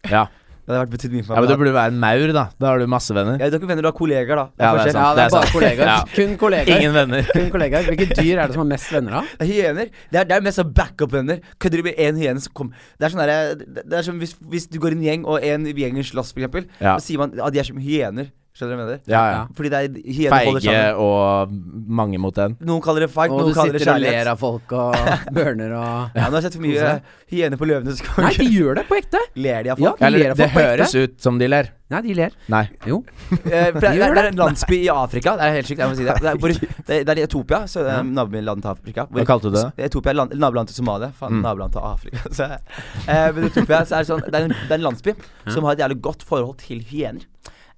S1: Ja,
S2: Det hadde vært betydd mye for
S1: ja men
S2: meg.
S1: da burde du være en maur, da. Da har du masse venner.
S2: ja, du har ikke venner, du har kollegaer, da.
S1: Ja, det er
S2: forskjell.
S1: sant.
S3: Ja, det er bare
S1: sant.
S3: kollegaer.
S1: Ja.
S3: Kun kollegaer.
S1: Ingen venner.
S3: Kun kollegaer. Hvilke dyr er det som har mest venner av?
S2: Det er hyener. Det er, det er mest sånn backup-venner. Kødder du med én hyene som kommer Det er sånn derre Det det er som hvis, hvis du går i en gjeng, og en i gjengen slåss, for eksempel,
S1: Ja.
S2: så sier man at de er som hyener. Skjønner du hva jeg mener?
S1: Ja, ja.
S2: Fordi det er hyener holder
S1: Feige
S2: sammen.
S1: og mange mot en.
S2: Noen kaller det fight,
S3: Og
S2: noen
S3: du
S2: kaller det
S3: sitter og ler
S2: kjærlighet.
S3: av folk og burner og
S2: Ja, nå har jeg sett for mye hyener på Løvenes
S3: Nei, de
S2: konge.
S3: gjør det på ekte!
S2: Ler de av
S3: Ja.
S2: folk?
S3: ler
S1: Eller
S3: av
S1: det
S3: folk på ekte.
S1: høres ut som de ler.
S3: Nei, de ler.
S1: Nei.
S3: Jo.
S2: Eh, for det, det,
S3: Gjør
S2: det er en landsby i Afrika. Det er helt sykt, jeg må si det. Det er, hvor, det, det er i Etiopia, så eh, nabolandet til Afrika. hvor-
S1: Hva kalte du det? Mm.
S2: Etiopia er land, naboland til Somalia. Faen, naboland til Afrika. Så, eh, men i Etiopia så er det, sånn, det, er en, det er en landsby som har et jævlig godt forhold til hyener.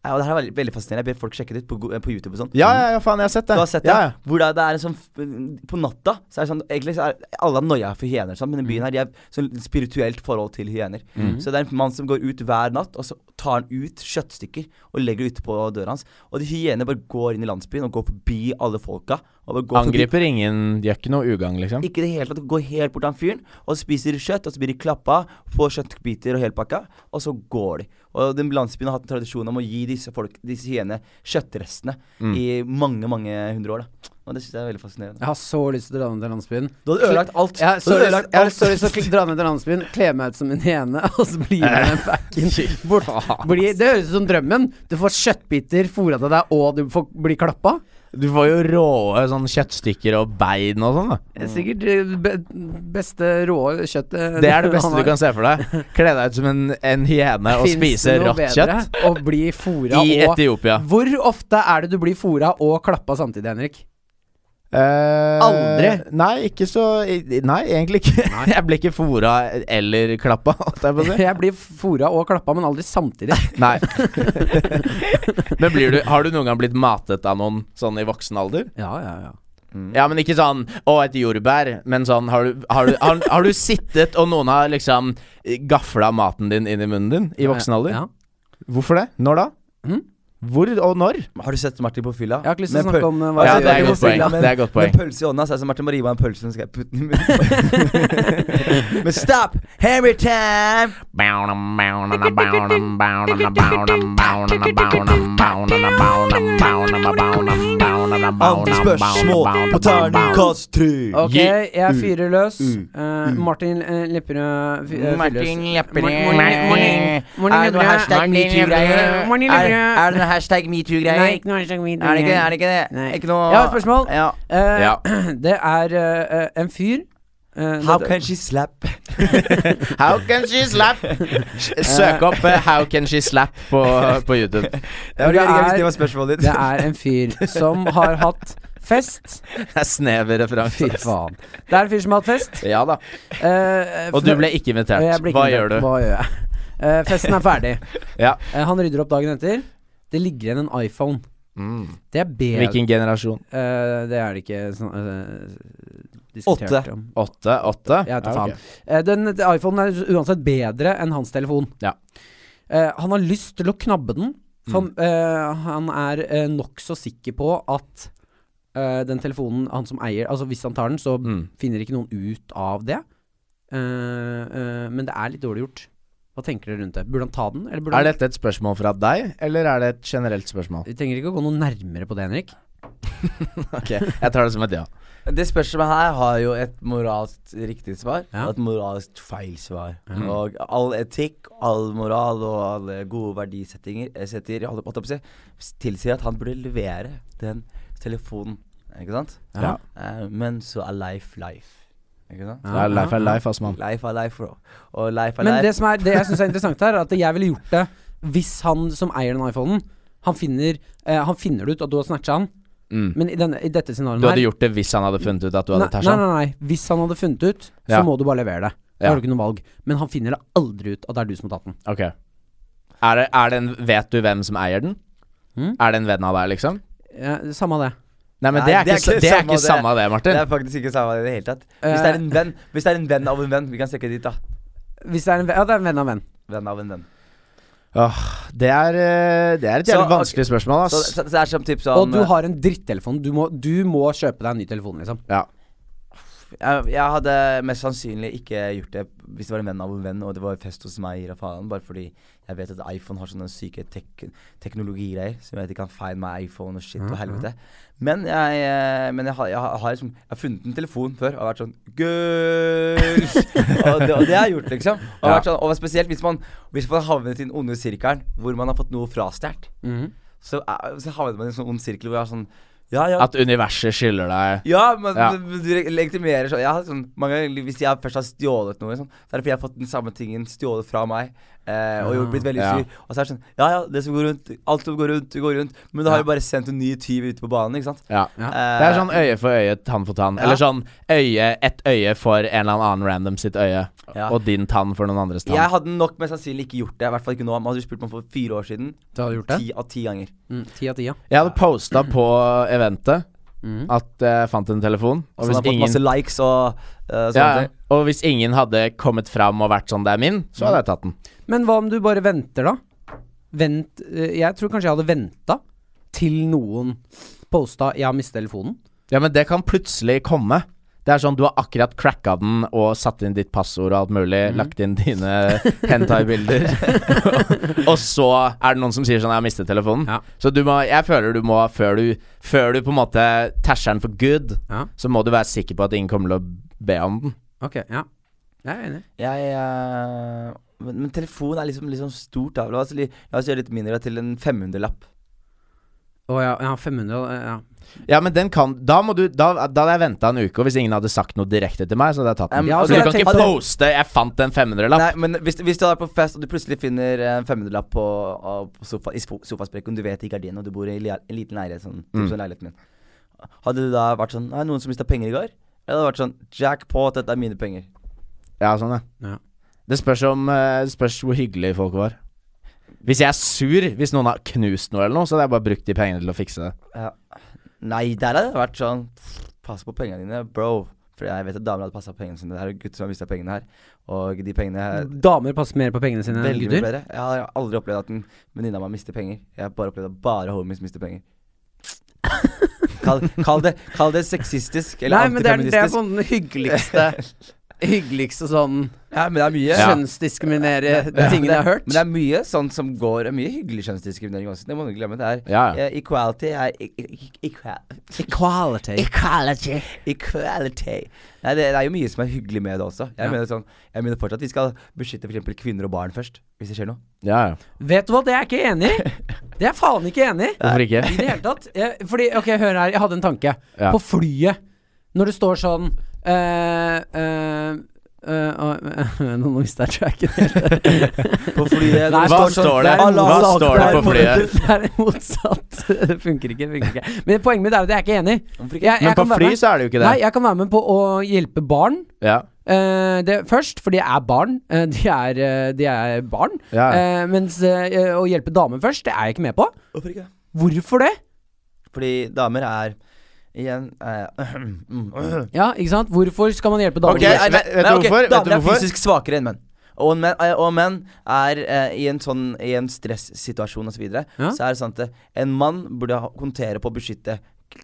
S2: Eh, og det her er veldig, veldig fascinerende. Jeg ber folk sjekke det ut på, go- eh, på YouTube og sånn.
S1: Ja, ja, ja, faen, jeg har sett det.
S2: Du har sett det?
S1: Ja, ja.
S2: Hvor da det er en sånn f- På natta så er det sånn Egentlig så er alle har noia for hyener, og sånn, men
S1: Mm.
S2: i byen her de har sånn spirituelt forhold til hyener. Så det er en mann som går ut hver natt, og så tar han ut kjøttstykker og legger det ute på døra hans. Og de hyenene bare går inn i landsbyen og går forbi alle folka. Og bare går forbi
S1: Angriper ingen, gjør ikke noe ugagn, liksom.
S2: ikke i det hele tatt. Går helt bort til han fyren og spiser kjøtt. Og så blir de klappa, får kjøttbiter og hele pakka, og så går de. Og den landsbyen har hatt en tradisjon om å gi disse folk, disse hyene kjøttrestene i mange, mange hundre år. da Og det syns jeg er veldig fascinerende.
S3: Jeg har så lyst til å dra ned til landsbyen.
S2: Du hadde ødelagt alt.
S3: Jeg har
S2: Du
S3: så
S2: hadde
S3: lyst,
S2: ødelagt
S3: jeg har
S2: alt.
S3: så lyst til å kl- dra ned til landsbyen, kle meg ut som en hyene, og så blir jeg
S1: Eh,
S3: med backen bort. Bli, det høres ut som drømmen. Du får kjøttbiter fôra til deg, og du får bli klappa.
S1: Du får jo rå sånn kjøttstykker og bein og sånn, da.
S3: Det er Sikkert eh, be, beste rå kjøttet eh,
S1: Det er det beste du kan se for deg. Kle deg ut som en, en hyene og spise rått kjøtt
S3: Og bli fôra
S1: i
S3: og
S1: Etiopia.
S3: Hvor ofte er det du blir fôra og klappa samtidig, Henrik?
S1: Aldri? Eh, Nei, ikke så Nei, egentlig ikke. Jeg ble ikke fora eller klappa, holdt jeg på å si.
S3: Jeg blir fôra og klappa, men aldri samtidig.
S1: Nei. Men blir du, har du noen gang blitt matet av noen sånn i voksen alder?
S3: Ja, ja, ja.
S1: Ja, men ikke sånn 'å, et jordbær', men sånn Har du, har du, har, har du sittet, og noen har liksom gafla maten din inn i munnen din i voksen alder?
S3: Ja.
S1: Hvorfor det? Når da?
S2: Hm?
S3: Mhm.
S1: Hvor og når?
S2: Har du sett Martin på fylla?
S3: Jeg har ikke lyst til å
S2: Med
S3: snakke om eh, hva
S1: Ja,
S3: jeg
S1: det er et
S3: gjør.
S1: godt poeng. Det er et godt poeng.
S2: Med pølse i hånda, så er det som Martin Marie var en pølse, så skal jeg putte den i munnen. Men stopp! Hammer time! Andre spørsmål på terningkast tre.
S3: Ok,
S1: Yeah.
S3: jeg fyrer løs.
S1: Mm.
S3: Eh, Martin eh, Lepperød fy- eh, fyrer løs.
S2: Martin Lepperød.
S3: Martin- Martin- Martin- Martin
S2: Er det noe
S3: Lepperød.
S2: hashtag
S3: Martin
S2: metoo-greier?
S3: Lepperød. Martin
S2: Er,
S3: Lepperød.
S2: er det noe hashtag metoo-greier?
S3: Nei, ikke noe hashtag metoo-greier.
S2: Er det ikke, er det, ikke det?
S3: Nei.
S2: Ikke noe
S3: Jeg har et spørsmål.
S2: Ja.
S3: Eh,
S1: Ja.
S3: Det er eh, en fyr eh,
S2: How
S3: det-
S2: can she slap?
S1: How can she slap? Søk opp eh, 'How can she slap' på, på YouTube.
S2: Det var
S3: Det
S2: det gøy hvis
S3: er-
S2: det var spørsmålet ditt.
S3: det er en fyr som har hatt fest.
S1: Det er snever
S3: Fy
S1: referanse.
S3: faen. Det er en fyr som har hatt fest.
S1: Ja da.
S3: Eh,
S1: Og du ble ikke invitert.
S3: Og jeg ble ikke
S1: Hva gjør
S3: invitert.
S1: du?
S3: Hva gjør jeg? Eh, festen er ferdig.
S1: Ja.
S3: Eh, han rydder opp dagen etter. Det ligger igjen en iPhone.
S1: Mm.
S3: Det er bedre
S1: Hvilken generasjon?
S3: Eh, det er det ikke sånn, eh, diskutert
S2: Åtte.
S3: om.
S1: Åtte? Åtte?
S3: Jeg vet da
S1: Ja,
S3: faen.
S1: ok.
S3: Eh, den iPhonen er uansett bedre enn hans telefon.
S1: Ja.
S3: Eh, han har lyst til å knabbe den, for
S1: Mm.
S3: eh, han er uh, nokså sikker på at eh, den telefonen han som eier Altså, hvis han tar den, så
S1: Mm.
S3: finner ikke noen ut av det. Eh, eh, men det er litt dårlig gjort. Hva tenker dere rundt det? Burde han ta den, eller burde
S1: Er
S3: han
S1: dette et spørsmål fra deg, eller er det et generelt spørsmål?
S3: Vi trenger ikke å gå noe nærmere på det, Henrik.
S1: Ok, Jeg tar det som et ja.
S2: Det spørsmålet her har jo et moralsk riktig svar
S3: Ja. Mm.
S2: og et moralsk feil svar. Og all etikk, all moral og alle gode verdisettinger eh, setter, holdt- holdt jeg på å si, tilsier at han burde levere den telefonen. Ikke sant?
S1: Ja.
S2: Eh, men så er life life. Ikke sant?
S1: Det er life er life, ass, mann.
S2: Life er life, bro. Og life er
S3: Men
S2: life.
S3: det som er Det jeg syns er interessant her, er at jeg ville gjort det hvis han som eier den iPhonen, han finner, eh, han finner det ut at du har snatcha han.
S1: Mm.
S3: Men i, denne, i dette scenarioet
S1: Du hadde gjort det hvis han hadde funnet ut at du hadde
S3: nei,
S1: tæsja
S3: nei,
S1: han?
S3: nei, nei. Hvis han hadde funnet ut, så
S1: Ja.
S3: må du bare levere det. Da
S1: Ja.
S3: har du ikke noe valg. Men han finner det aldri ut at det er du som har tatt den.
S1: Ok. Er det, er det en, vet du hvem som eier den?
S3: Mm.
S1: Er det en venn av deg, liksom?
S3: Eh, samme av det.
S1: Nei, men
S2: Nei,
S1: det, er ikke, sa- det er ikke
S2: samme
S1: samme av det,
S2: det
S1: Martin.
S2: er faktisk ikke samme i det hele tatt. Hvis det er
S3: Eh.
S2: en venn Hvis det er en venn av en venn, vi kan strekke dit, da.
S3: Hvis det er en, ve- ja, det er en venn av en venn.
S2: Venn av en venn.
S1: Åh, det, er, eh, det er et
S2: Så,
S1: jævlig
S2: ok.
S1: vanskelig spørsmål,
S2: Så,
S1: ass.
S2: så, så det er som typ sånn
S3: Og
S1: eh,
S3: du har en drittelefon. Du må, du må kjøpe deg en ny telefon, liksom.
S1: Ja.
S2: Jeg, jeg hadde mest sannsynlig ikke gjort det hvis det var en venn av en venn, og det var fest hos meg i Rafalen, bare fordi jeg vet at iPhone har sånne syke tek teknologigreier, så jeg vet de kan feie meg iPhone og shit og helvete. Men jeg, eh, men jeg, har, jeg, har, jeg har liksom Jeg har funnet en telefon før og vært sånn Girls! og, det, og det har jeg gjort, liksom. Og, vært sånn, og spesielt hvis man Hvis man havnet i den onde sirkelen hvor man har fått noe frastjålet. Så, eh, så havnet man i en sånn ond sirkel hvor jeg var sånn Ja, ja.
S1: At universet skylder deg
S2: ja, men
S1: Ja.
S2: men du re- legitimerer sånn, jeg har sånn mange ganger, Hvis jeg først har stjålet noe, sånn, så er det fordi jeg har fått den samme tingen stjålet fra meg. Eh, og gjort blitt veldig
S1: Ja.
S2: sur. Og så er det sånn Ja ja, det som går rundt, alt som går rundt, det går rundt. Men du har jo bare sendt en ny tyv ute på banen, ikke sant? Eh,
S1: Ja.
S3: Ja.
S1: Det er sånn øye for øye, tann for tann. Eller
S2: Ja.
S1: sånn øye, ett øye for en eller annen random sitt øye,
S2: Ja.
S1: og din tann for noen andres tann.
S2: Jeg hadde nok mest sannsynlig ikke gjort det. I hvert fall ikke nå. Men hadde du spurt meg for fire år siden,
S3: Du hadde gjort det?
S2: ti av ti ganger.
S3: Mm, Ti av ti, ja.
S1: Jeg hadde posta på eventet at jeg fant en telefon. Mm.
S2: Så
S1: Og
S2: han
S1: hvis,
S2: har fått masse
S1: ingen,
S2: likes og eh, sånne
S1: ja,
S2: ting.
S1: og hvis ingen hadde kommet fram og vært sånn 'det er min', så hadde jeg tatt den.
S3: Men hva om du bare venter, da? Vent eh, Jeg tror kanskje jeg hadde venta til noen posta 'jeg har mistet telefonen'.
S1: Ja, Men det kan plutselig komme. Det er sånn Du har akkurat cracka den og satt inn ditt passord og alt mulig. Lagt inn dine hentai-bilder. og så er det noen som sier sånn 'jeg har mistet telefonen'.
S3: Ja.
S1: Så du må, jeg føler du må, før du, før du på en måte tæsjer den for good,
S3: Ja.
S1: så må du være sikker på at ingen kommer til å be om den.
S3: Ok, ja. Jeg er enig.
S2: Jeg eh, men, men telefon er liksom, liksom stort. da La oss, li- la oss gjøre litt mindre til en 500-lapp.
S3: Å ja, ja, 500 eh, ja.
S1: Ja, men den kan Da, må du, da, da hadde jeg venta en uke, og hvis ingen hadde sagt noe direkte til meg, så hadde jeg tatt den.
S2: Um,
S3: Ja,
S1: så
S3: altså,
S1: du kan
S3: jeg
S1: ikke
S3: tenker-
S1: poste 'jeg fant en 500-lapp'.
S2: Nei, men hvis, hvis du er på fest og du plutselig finner en 500-lapp på, av- på sofa, i spo- sofasprekken, du vet i gardinen, og du bor i lia- en liten leilighet, sånn, typ sånn leiligheten min. Hadde du da vært sånn Nei, noen som mista penger i går? Eller hadde det vært sånn Jackpot, dette er mine penger.
S1: Ja, sånn, ja.
S3: Ja.
S1: Det spørs, om, eh, det spørs hvor hyggelige folk var. Hvis jeg er sur, hvis noen har knust noe eller noe, så hadde jeg bare brukt de pengene til å fikse det.
S2: Ja. Nei, der hadde det vært sånn Pass på pengene dine, bro. For jeg vet at damer hadde passa pengene sine. Det er jo gutter som har mista pengene her. Og de pengene her
S3: Damer passer mer på pengene sine enn
S2: Eh, Veldig mye
S3: Eh, gutter.
S2: bedre. Jeg har aldri opplevd at en venninne av meg mister penger. Jeg har bare opplevd at bare homies mister penger. Kall, kall, det, kall det sexistisk eller
S3: Nei, men det er, det er
S2: antifeministisk.
S3: sånn den hyggeligste Hyggeligste sånn
S2: ja, men det er mye.
S3: kjønnsdiskriminerende tingen jeg har hørt.
S2: Men det er mye sånn som går Mye hyggelig kjønnsdiskriminering også. Det må du ikke glemme. Det er
S1: Ja, ja.
S2: eh, equality er e- e- equal-
S3: Equality.
S2: Equality. Equality. Nei, det, det er jo mye som er hyggelig med det også. Jeg,
S3: Ja.
S2: mener, sånn, jeg mener fortsatt at vi skal beskytte f.eks. kvinner og barn først, hvis det skjer noe.
S1: Ja, ja.
S3: Vet du hva, det er jeg ikke enig i. Det er jeg faen ikke enig i.
S1: Hvorfor ikke?
S3: I det hele tatt. Jeg, fordi, ok, hør her, jeg hadde en tanke.
S1: Ja.
S3: På flyet, når det står sånn eh, eh, eh, eh, Nå mista jeg tracken helt.
S2: På flyet
S3: Nei,
S2: når
S1: Hva
S2: sånn-
S1: står det?
S2: er en
S3: Hva
S2: motsatt-
S1: står det
S2: er en
S1: på flyet?
S2: motsatt-
S3: Det er motsatt. Det funker ikke. det funker ikke Men poenget mitt er at jeg er ikke enig.
S2: Hvorfor ikke?
S3: Jeg, jeg
S1: Men på
S3: kan være
S1: fly
S3: med-
S1: så er det jo ikke det.
S3: Nei, jeg kan være med på å hjelpe barn.
S1: Ja.
S3: eh, det først, for de er barn. eh, de, er, eh, de er barn.
S1: Ja.
S3: Eh, mens eh, å hjelpe damer først, det er jeg ikke med på.
S2: Hvorfor ikke?
S3: Hvorfor det?
S2: Fordi damer er Igjen eh, mm, øh.
S3: Ja, ikke sant? Hvorfor skal man hjelpe damer
S1: Ok,
S2: Nei,
S1: vet- vet
S2: nei,
S1: du
S2: nei, ok,
S1: hvorfor? Vet du
S2: Damer er
S1: hvorfor?
S2: fysisk svakere enn menn. Og menn, eh, og menn er eh, i en sånn I en stressituasjon osv. Så, videre
S3: Ja.
S2: så er det sant at en mann burde ha- håndtere på å beskytte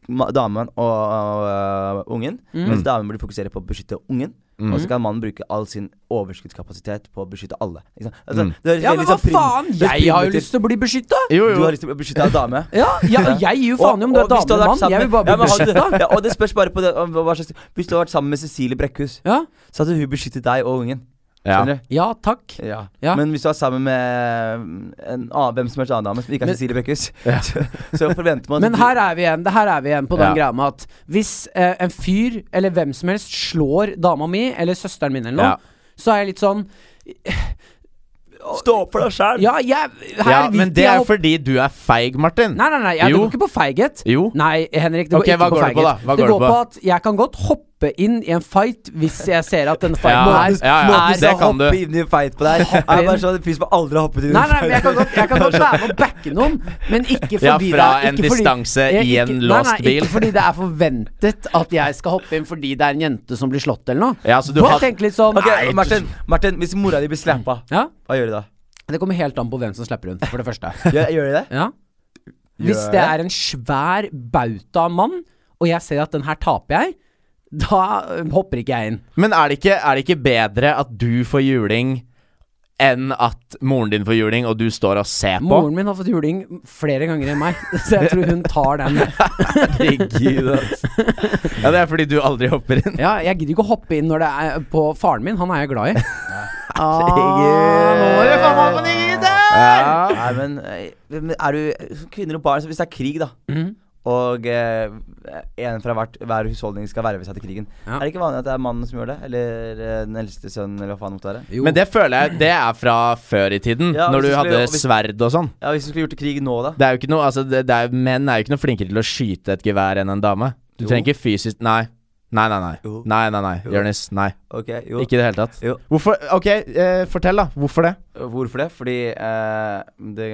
S2: ma- damen og øh, ungen.
S1: Mm.
S2: Mens damen burde fokusere på å beskytte ungen. Og så kan mannen bruke all sin overskuddskapasitet på å beskytte alle. Ikke sant?
S1: Mm.
S2: Altså, det høres
S3: Ja,
S2: veldig
S3: men hva
S2: sånn prim-
S3: faen?
S2: det
S3: Jeg har jo
S2: primitivt-
S3: lyst til å bli beskytta!
S1: Jo,
S2: Du
S1: jo.
S2: har lyst til å bli beskytta av dame?
S3: Ja, ja, jeg gir jo faen i om du er
S2: Og- og hvis du hadde
S3: dame eller
S2: vært
S3: mann.
S2: sammen
S3: Jeg vil bare
S2: med-
S3: bli
S2: Ja, men
S3: beskytta.
S2: hadde- Ja, og det spørs bare på det, om hva slags Hvis du hadde vært sammen med Cecilie Brekkhus,
S3: Ja.
S2: så hadde hun beskyttet deg og ungen.
S1: Ja.
S2: Skjønner
S3: ja, takk.
S2: du? Ja.
S3: Ja.
S2: Men hvis du var sammen med mm, en annen, hvem som helst annen dame som ikke er
S3: Men-
S2: Cecilie Brekkhus, så, så forventer man
S3: Men her er vi igjen, det her er vi igjen på
S1: Ja.
S3: den greia med at hvis eh, en fyr eller hvem som helst slår dama mi eller søsteren min eller noe,
S1: Ja.
S3: så er jeg litt sånn
S2: Stå opp for deg sjæl!
S3: Ja, jeg her
S1: ja,
S3: vil
S1: men
S3: ikke
S1: det
S3: jeg
S1: er jo
S3: hoppe-
S1: fordi du er feig, Martin.
S3: Nei, nei, nei, jeg, det
S1: Jo.
S3: går ikke på feighet.
S1: Jo.
S3: Nei, Henrik, det går
S1: Ok, hva
S3: ikke
S1: går
S3: på
S1: det på
S3: feighet.
S1: da? Hva
S3: det
S1: går det
S3: går
S1: på?
S3: på at jeg kan godt hoppe inn i en fight hvis jeg ser at denne fighten
S1: Ja, ja,
S3: her
S1: ja,
S3: er
S1: det kan du.
S2: Hoppe inn i en fight på deg. Jeg er bare sånn en fyr som aldri har hoppet inn i
S3: Nei,
S2: en
S3: nei, men jeg kan godt, jeg kan godt være med å backe noen, men ikke fordi
S1: Ja,
S3: det
S1: fra
S3: er-
S1: en
S3: ikke fordi-
S1: distanse
S3: jeg-
S1: i en
S3: ikke-
S1: låst
S3: nei, nei,
S1: bil.
S3: Ikke fordi det er forventet at jeg skal hoppe inn fordi det er en jente som blir slått eller noe.
S1: Ja, så du
S3: Og
S1: har-
S3: jeg tenker litt sånn
S2: Ok,
S3: nei,
S2: Martin, Martin, hvis mora di blir slappa,
S3: Ja,
S2: hva gjør du da?
S3: Det kommer helt an på hvem som slipper rundt, for det første.
S2: Gjør, gjør du det?
S3: Ja. Hvis
S2: Gjør
S3: det er en svær bauta av mann, og jeg ser at den her taper jeg, da øh, hopper ikke jeg inn.
S1: Men er det, ikke, er det ikke bedre at du får juling enn at moren din får juling, og du står og ser på?
S3: Moren min har fått juling flere ganger enn meg, så jeg tror hun tar den.
S1: Herregud, ass. Ja, det er fordi du aldri hopper inn.
S3: Ja, jeg gidder ikke å hoppe inn når det er på faren min, han er jeg glad i.
S1: Herregud.
S3: Nå er det faen meg på tide!
S1: Ja.
S2: Nei, men eh, men er du Kvinner og barn så Hvis det er krig, da,
S3: Mhm.
S2: og eh, en fra hvert, hver husholdning skal verve seg til krigen
S3: Ja.
S2: Er det ikke vanlig at det er mannen som gjør det? Eller eh, den eldste sønnen, eller hva faen det måtte være?
S3: Jo.
S1: Men det føler jeg Det er fra før i tiden,
S2: Ja,
S1: når du
S2: hvis du skulle-
S1: hadde
S2: og hvis-
S1: sverd og sånn.
S2: Ja, Hvis du skulle gjort det krig nå, da?
S1: Det er jo ikke noe Altså, det, det er, menn er jo ikke noe flinkere til å skyte et gevær enn en dame. Du
S2: Jo.
S1: trenger ikke fysisk Nei. Nei, nei, nei.
S2: Jo.
S1: Nei, nei, nei.
S2: Jo.
S1: Jonis, nei.
S2: Ok, jo.
S1: Ikke i det hele tatt.
S2: Jo.
S1: Hvorfor Ok, eh, fortell, da. Hvorfor det?
S2: Hvorfor det? Fordi eh, det,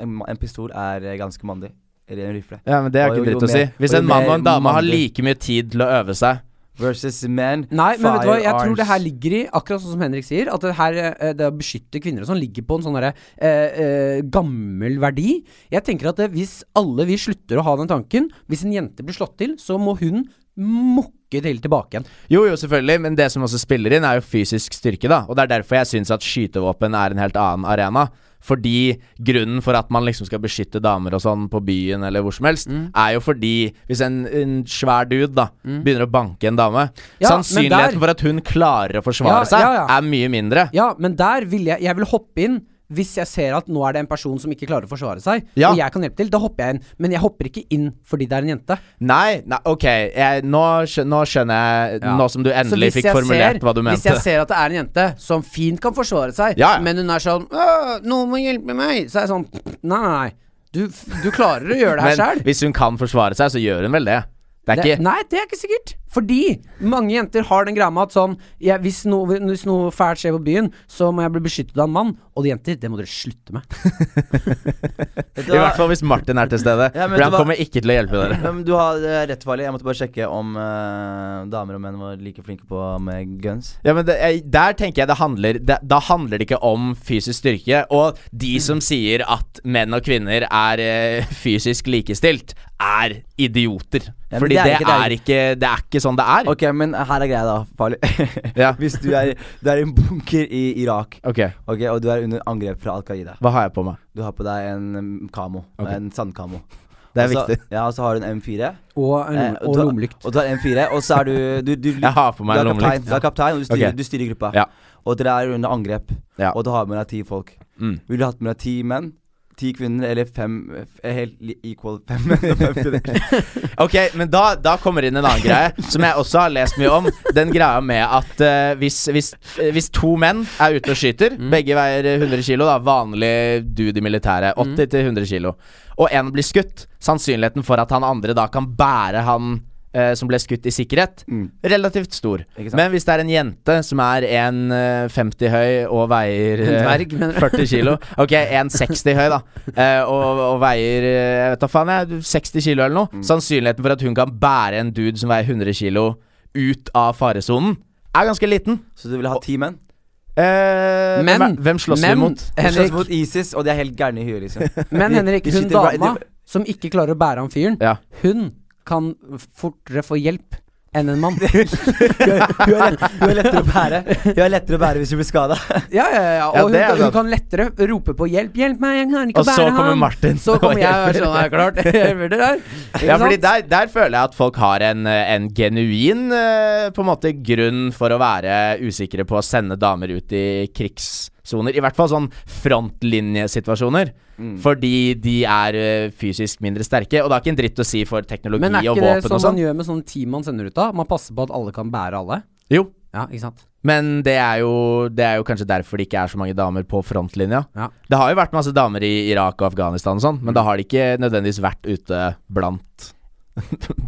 S2: en, en pistol er eh, ganske mandig. Eller en rifle.
S1: Ja, men Det er
S2: Og
S1: jo ikke
S2: jo
S1: dritt å si.
S2: mer-
S1: Hvis
S2: og jo
S1: en mann og en
S2: mer
S1: dame har
S2: mannlig-
S1: like mye tid til å øve seg
S2: Versus men.
S3: Nei, men vet du hva, jeg tror
S2: firearms.
S3: det her ligger i, akkurat sånn som Henrik sier, at det her eh, det å beskytte kvinner og sånn ligger på en sånn derre eh, eh, gammel verdi. Jeg tenker at eh, hvis alle vi slutter å ha den tanken, hvis en jente blir slått til, så må hun mokke til tilbake igjen.
S1: Jo, jo, selvfølgelig, men det som også spiller inn, er jo fysisk styrke, da. Og det er derfor jeg syns at skytevåpen er en helt annen arena. Fordi grunnen for at man liksom skal beskytte damer og sånn på byen eller hvor som helst,
S3: Mm.
S1: er jo fordi hvis en, en svær dude da begynner å banke en dame,
S3: Ja, men
S1: sannsynligheten
S3: der-
S1: for at hun klarer å forsvare
S3: Ja,
S1: seg,
S3: ja, ja.
S1: er mye mindre.
S3: Ja, men der vil jeg Jeg vil hoppe inn hvis jeg ser at nå er det en person som ikke klarer å forsvare seg,
S1: Ja.
S3: og jeg kan hjelpe til. Da hopper jeg inn. Men jeg hopper ikke inn fordi det er en jente.
S1: Nei, nei, ok, jeg, nå, skjø- nå skjønner jeg
S3: Ja.
S1: Nå som du
S3: Så
S1: endelig
S3: hvis
S1: fikk
S3: jeg
S1: formulert
S3: ser-
S1: hva du
S3: Hvis jeg
S1: mente.
S3: ser at det er en jente som fint kan forsvare seg,
S1: Ja, ja.
S3: men hun er sånn «Åh, 'Noen må hjelpe meg', så er jeg sånn Nei, nei, nei. Du, f- du klarer å gjøre det her
S1: Men
S3: sjøl.
S1: hvis hun kan forsvare seg, så gjør hun vel det. Det er ikke
S3: Nei, det er ikke sikkert. Fordi mange jenter har den greia med at sånn ja, hvis, noe, hvis noe fælt skjer på byen, så må jeg bli beskyttet av en mann. Og de jenter, det må dere slutte med.
S2: Vet du
S1: I
S2: hva?
S1: hvert fall hvis Martin er til stede.
S2: Ja, men
S1: for han
S2: det var-
S1: kommer ikke til å hjelpe dere.
S2: Men du har eh, rett, Farley. Jeg måtte bare sjekke om eh, damer og menn var like flinke på med guns.
S1: Ja, men det, jeg, Der tenker jeg det handler det, Da handler det ikke om fysisk styrke. Og de som sier at menn og kvinner er eh, fysisk likestilt, er idioter.
S2: Ja, men
S1: Fordi
S2: det
S1: det
S2: er
S1: er,
S2: ikke- det er
S1: ikke, det er ikke sånn det er.
S2: Ok, men her er greia, da, Farley.
S1: Ja.
S2: Hvis du er, du er i en bunker i Irak,
S1: Ok,
S2: ok, og du er under angrep fra Al Qaida
S1: Hva har jeg på meg?
S2: Du har på deg en um, kamo.
S1: Ok.
S2: En sandkamo.
S1: Det er
S2: Og så-
S1: viktig.
S2: Ja, og så har du en M4.
S3: Og, en
S2: eh,
S3: lom- og
S2: du-
S3: lommelykt.
S2: Og du har en M4, og så er du Du, du,
S1: Jeg har på
S2: du
S1: meg
S2: er
S1: en
S2: kaptein,
S1: lommelykt.
S2: du er kaptein og du styrer,
S1: Ok.
S2: du styrer gruppa.
S1: Ja.
S2: Og dere er under angrep,
S1: Ja.
S2: og du har med deg ti folk.
S1: Mm.
S2: Vil du hatt med deg ti menn? Ti kvinner, eller fem eh, Helt li- equal fem menn og fem kvinner.
S1: Ok, men da, da kommer inn en annen greie som jeg også har lest mye om. Den greia med at eh, hvis, hvis, eh, hvis to menn er ute og skyter,
S2: Mm.
S1: begge veier eh, 100 kilo, da, vanlig dude i militæret,
S2: Mm.
S1: 80-100 kilo, og en blir skutt, sannsynligheten for at han andre da kan bære han eh, som ble skutt i sikkerhet,
S2: Mm.
S1: relativt stor.
S2: Ikke sant?
S1: Men hvis det er en jente som er 1,50 høy og veier
S3: En
S1: eh,
S3: dverg, mener du?
S1: 40 kilo. Ok, 1,60 høy, da. Eh, og, og veier eh, Jeg vet da faen, jeg. 60 kilo eller noe. Sannsynligheten for at hun kan bære en dude som veier 100 kilo ut av faresonen, er ganske liten.
S2: Så du vil ha ti menn?
S1: Eh, hvem
S3: Men-
S1: er- hvem slåss vi
S3: men-
S1: mot?
S2: Du slåss
S3: Henrik,
S2: mot ISIS, og de er helt gærne i huet, liksom.
S3: Men
S2: De-
S3: Henrik,
S2: de
S3: hun
S2: skyter right-
S3: dama som ikke klarer å bære han fyren,
S1: Ja.
S3: hun kan fortere få hjelp enn en mann.
S2: Hun er, lett, hun er lettere å bære Hun er lettere å bære hvis hun blir skada.
S3: Ja, ja, ja.
S1: Ja,
S3: Og hun,
S1: det er
S3: kan, hun
S1: sant.
S3: kan lettere rope på 'hjelp, hjelp meg, jeg kan ikke
S1: Og
S3: bære
S1: så
S3: han'.
S1: kommer Martin.
S3: Så kommer jeg og er sånn, er klart. Hjelper dere her? Ikke
S1: Ja, fordi
S3: sant?
S1: der, der føler jeg at folk har en, eh, en genuin eh, på en måte grunn for å være usikre på å sende damer ut i krigssoner. I hvert fall sånn frontlinjesituasjoner. Mm. Fordi de er eh, fysisk mindre sterke. Og det har ikke en dritt å si for teknologi
S3: Men er
S1: og
S3: ikke det
S1: våpen
S3: sånn
S1: og
S3: man
S1: sånn.
S3: gjør med sånne team man sender ut av? Man passer på at alle kan bære alle?
S1: Jo,
S3: Ja, ikke sant?
S1: men det er, jo, det er jo kanskje derfor det ikke er så mange damer på frontlinja.
S3: Ja. Mm.
S1: Det har jo vært masse damer i Irak og Afghanistan og sånn, men da har de ikke nødvendigvis vært ute blant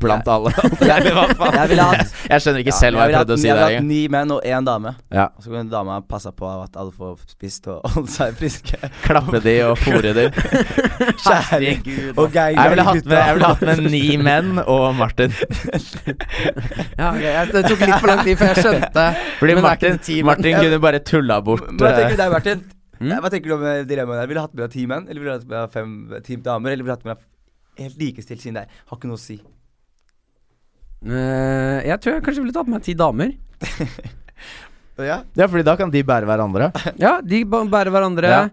S1: Blant alle. Eller hva faen?
S2: Jeg ville hatt
S1: Jeg skjønner ikke selv hva jeg prøvde å si
S2: Jeg
S1: der
S2: ville hatt
S1: engang.
S2: ni menn og én dame.
S1: Ja.
S2: Og så kan dama passe på at alle får spist og holde seg friske.
S1: Klappe de og fôre de. Jeg
S2: Kjære Gud. Og gang,
S1: ville hatt med, jeg ville hatt med ni menn og Martin.
S3: Ja, ok, jeg, Det tok litt for lang tid før jeg skjønte.
S1: Fordi
S3: Men det er
S1: Martin, Martin kunne bare tulla bort
S2: Hva tenker
S1: eh,
S2: du deg, Martin? Hva tenker du om eh, dilemmaet der? Ville du hatt med deg ti menn, eller ville du hatt med deg fem eh, ti damer? Eller ville du hatt med deg helt likestilt siden der? Har ikke noe å si.
S3: Eh, jeg tror jeg kanskje ville tatt med meg ti damer.
S2: Ja.
S1: eh, Ja, fordi da kan de bære hverandre.
S3: Ja, de ba- bærer hverandre.
S1: Ja.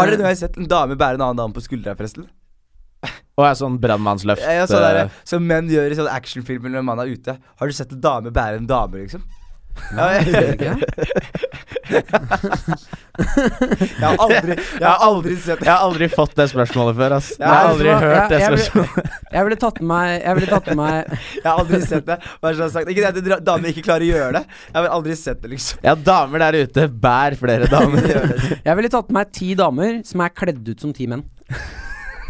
S2: Har dere noen gang sett en dame bære en annen dame på skuldra, forresten?
S1: Og er sånn brannmannsløft.
S2: Ja, ja, sånn
S1: eh,
S2: der, som menn gjør i sånne actionfilmer når en mann er ute. Har du sett en dame bære en dame, liksom? Ja,
S3: gjør dere ikke det?
S2: Jeg har aldri, jeg har aldri sett
S1: Jeg har aldri fått det spørsmålet før, ass. Jeg
S3: Nei,
S1: har
S3: vet du
S1: aldri
S3: hva?
S1: hørt det
S3: Jeg- jeg ble-
S1: spørsmålet.
S3: Jeg ville tatt med meg Jeg ville tatt med meg
S2: Jeg har aldri sett det. Bare sånn sagt. Ikke det at dra- damer ikke klarer å gjøre det. Jeg har aldri sett det, liksom.
S1: Ja, damer der ute, bær flere damer.
S2: Gjør det.
S3: Jeg ville tatt med meg ti damer som er kledd ut som ti menn.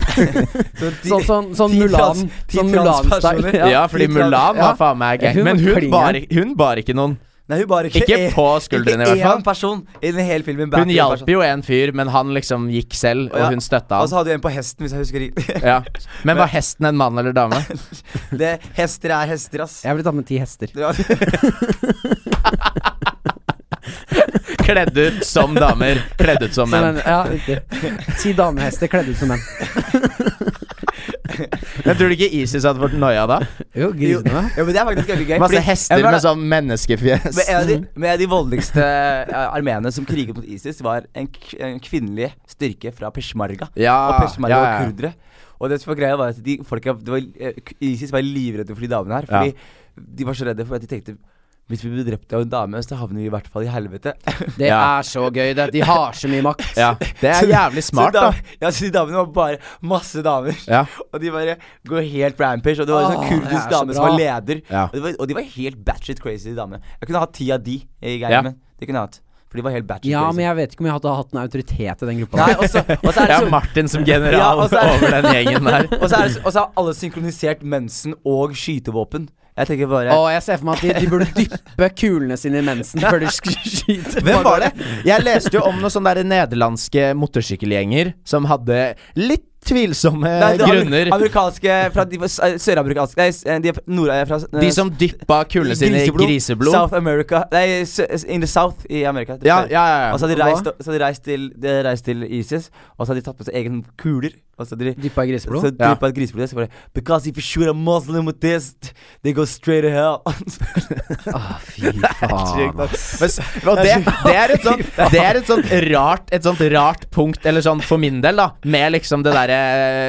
S2: Så de-
S3: Sånn, sånn, sånn
S2: ti
S3: Mulan.
S2: trans- ti
S3: Sånn
S2: transpersoner.
S3: Mulan-style.
S1: Ja, fordi Mulan
S3: Ja.
S1: var faen meg
S3: Hun
S1: gang.
S3: var
S1: Men hun
S3: klingeren.
S1: bar, hun bar ikke noen.
S2: Nei, hun bare ikke,
S1: Ikke på skuldrene, i hvert
S2: Ikke én
S1: fall.
S2: person i den hele filmen. bærer
S1: Hun
S2: en
S1: hjalp
S2: person.
S1: jo en fyr, men han liksom gikk selv,
S2: sånn. Ja. altså-
S1: og hun støtta
S2: Og så
S1: han.
S2: hadde hun en på hesten, hvis jeg husker riktig.
S1: Ja. Men var hesten en mann eller dame?
S2: Det, hester er hester, ass.
S3: Jeg ville tatt med ti hester.
S2: Ja.
S1: Kledd ut som damer, kledd ut som
S3: Som
S1: menn.
S3: en, ja, riktig. Ti damehester kledd ut som menn.
S1: Men tror du ikke ISIS hadde fått noia da?
S3: Jo, grisene.
S2: Jo, men det er faktisk veldig gøy.
S1: Masse
S2: fordi-
S1: hester
S2: Jeg var-
S1: med sånn menneskefjes.
S2: Men en av de, men en av de voldeligste eh, armeene som kriget mot ISIS, var en, k en kvinnelig styrke fra Peshmerga.
S1: Ja,
S2: og Peshmerga
S1: Ah, ja,
S2: var
S1: ja.
S2: kurdere. Og det som var greia, var at de folka det var, eh, k- ISIS var livredde for de damene her. Fordi de var så redde for at de tenkte hvis vi blir drept av en dame, så havner vi i hvert fall i helvete.
S3: Det
S1: Ja.
S3: er så gøy, det. De har så mye makt.
S1: Ja, det er jævlig smart,
S2: så
S1: da.
S2: Ja, så de damene var bare masse damer.
S1: Ja.
S2: Og de bare går helt rampage. Og det var en
S3: Åh,
S2: sånn
S3: det er
S2: kurdisk
S3: så
S2: dame som
S3: bra.
S2: var leder.
S1: Ja.
S2: Og, de var, og de var helt batshit crazy, de damene. Jeg kunne hatt ti av de i
S1: Ja.
S2: geimen. Det kunne jeg hatt. For de var helt batshit
S3: Ja,
S2: crazy.
S3: men jeg vet ikke om jeg hadde hatt en autoritet i den gruppa.
S2: Nei, og så og så er
S1: Ja,
S2: det så
S1: Martin som general
S2: Ja, og så er-
S1: over den gjengen der.
S2: Og så er det så- og så har alle synkronisert mensen og skytevåpen. Jeg tenker bare
S3: Og jeg ser for meg at de, de burde dyppe kulene sine i mensen før de sk- skyter.
S1: Hvem var det? Jeg leste jo om noen sånne der nederlandske motorsykkelgjenger som hadde litt tvilsomme
S2: Nei, det er amer-
S1: grunner.
S2: Amerikanske fra de var s- eh, søramerikanske Nei, s- eh, de er fra- nord er fra eh,
S1: De som dyppa kulene sine i griseblod.
S2: South America Nei, s- s- in the South i Amerika.
S1: Ja, ja, ja.
S2: Og så
S1: ja.
S2: hadde de
S3: Hva?
S2: reist, så hadde de reist, til, de hadde reist til ISIS, og så hadde de tatt med seg egne kuler. Og så hadde de
S3: Dyppa i
S2: så
S3: griseblod?
S2: de
S1: Ja.
S2: på et griseblod, så bare Because if you shoot a Muslim with this, they go straight to hell.
S3: Ah, fy faen.
S1: Men s- Og det, det er et sånt, det er et sånt rart Et sånt rart punkt, eller sånn for min del, da, med liksom det derre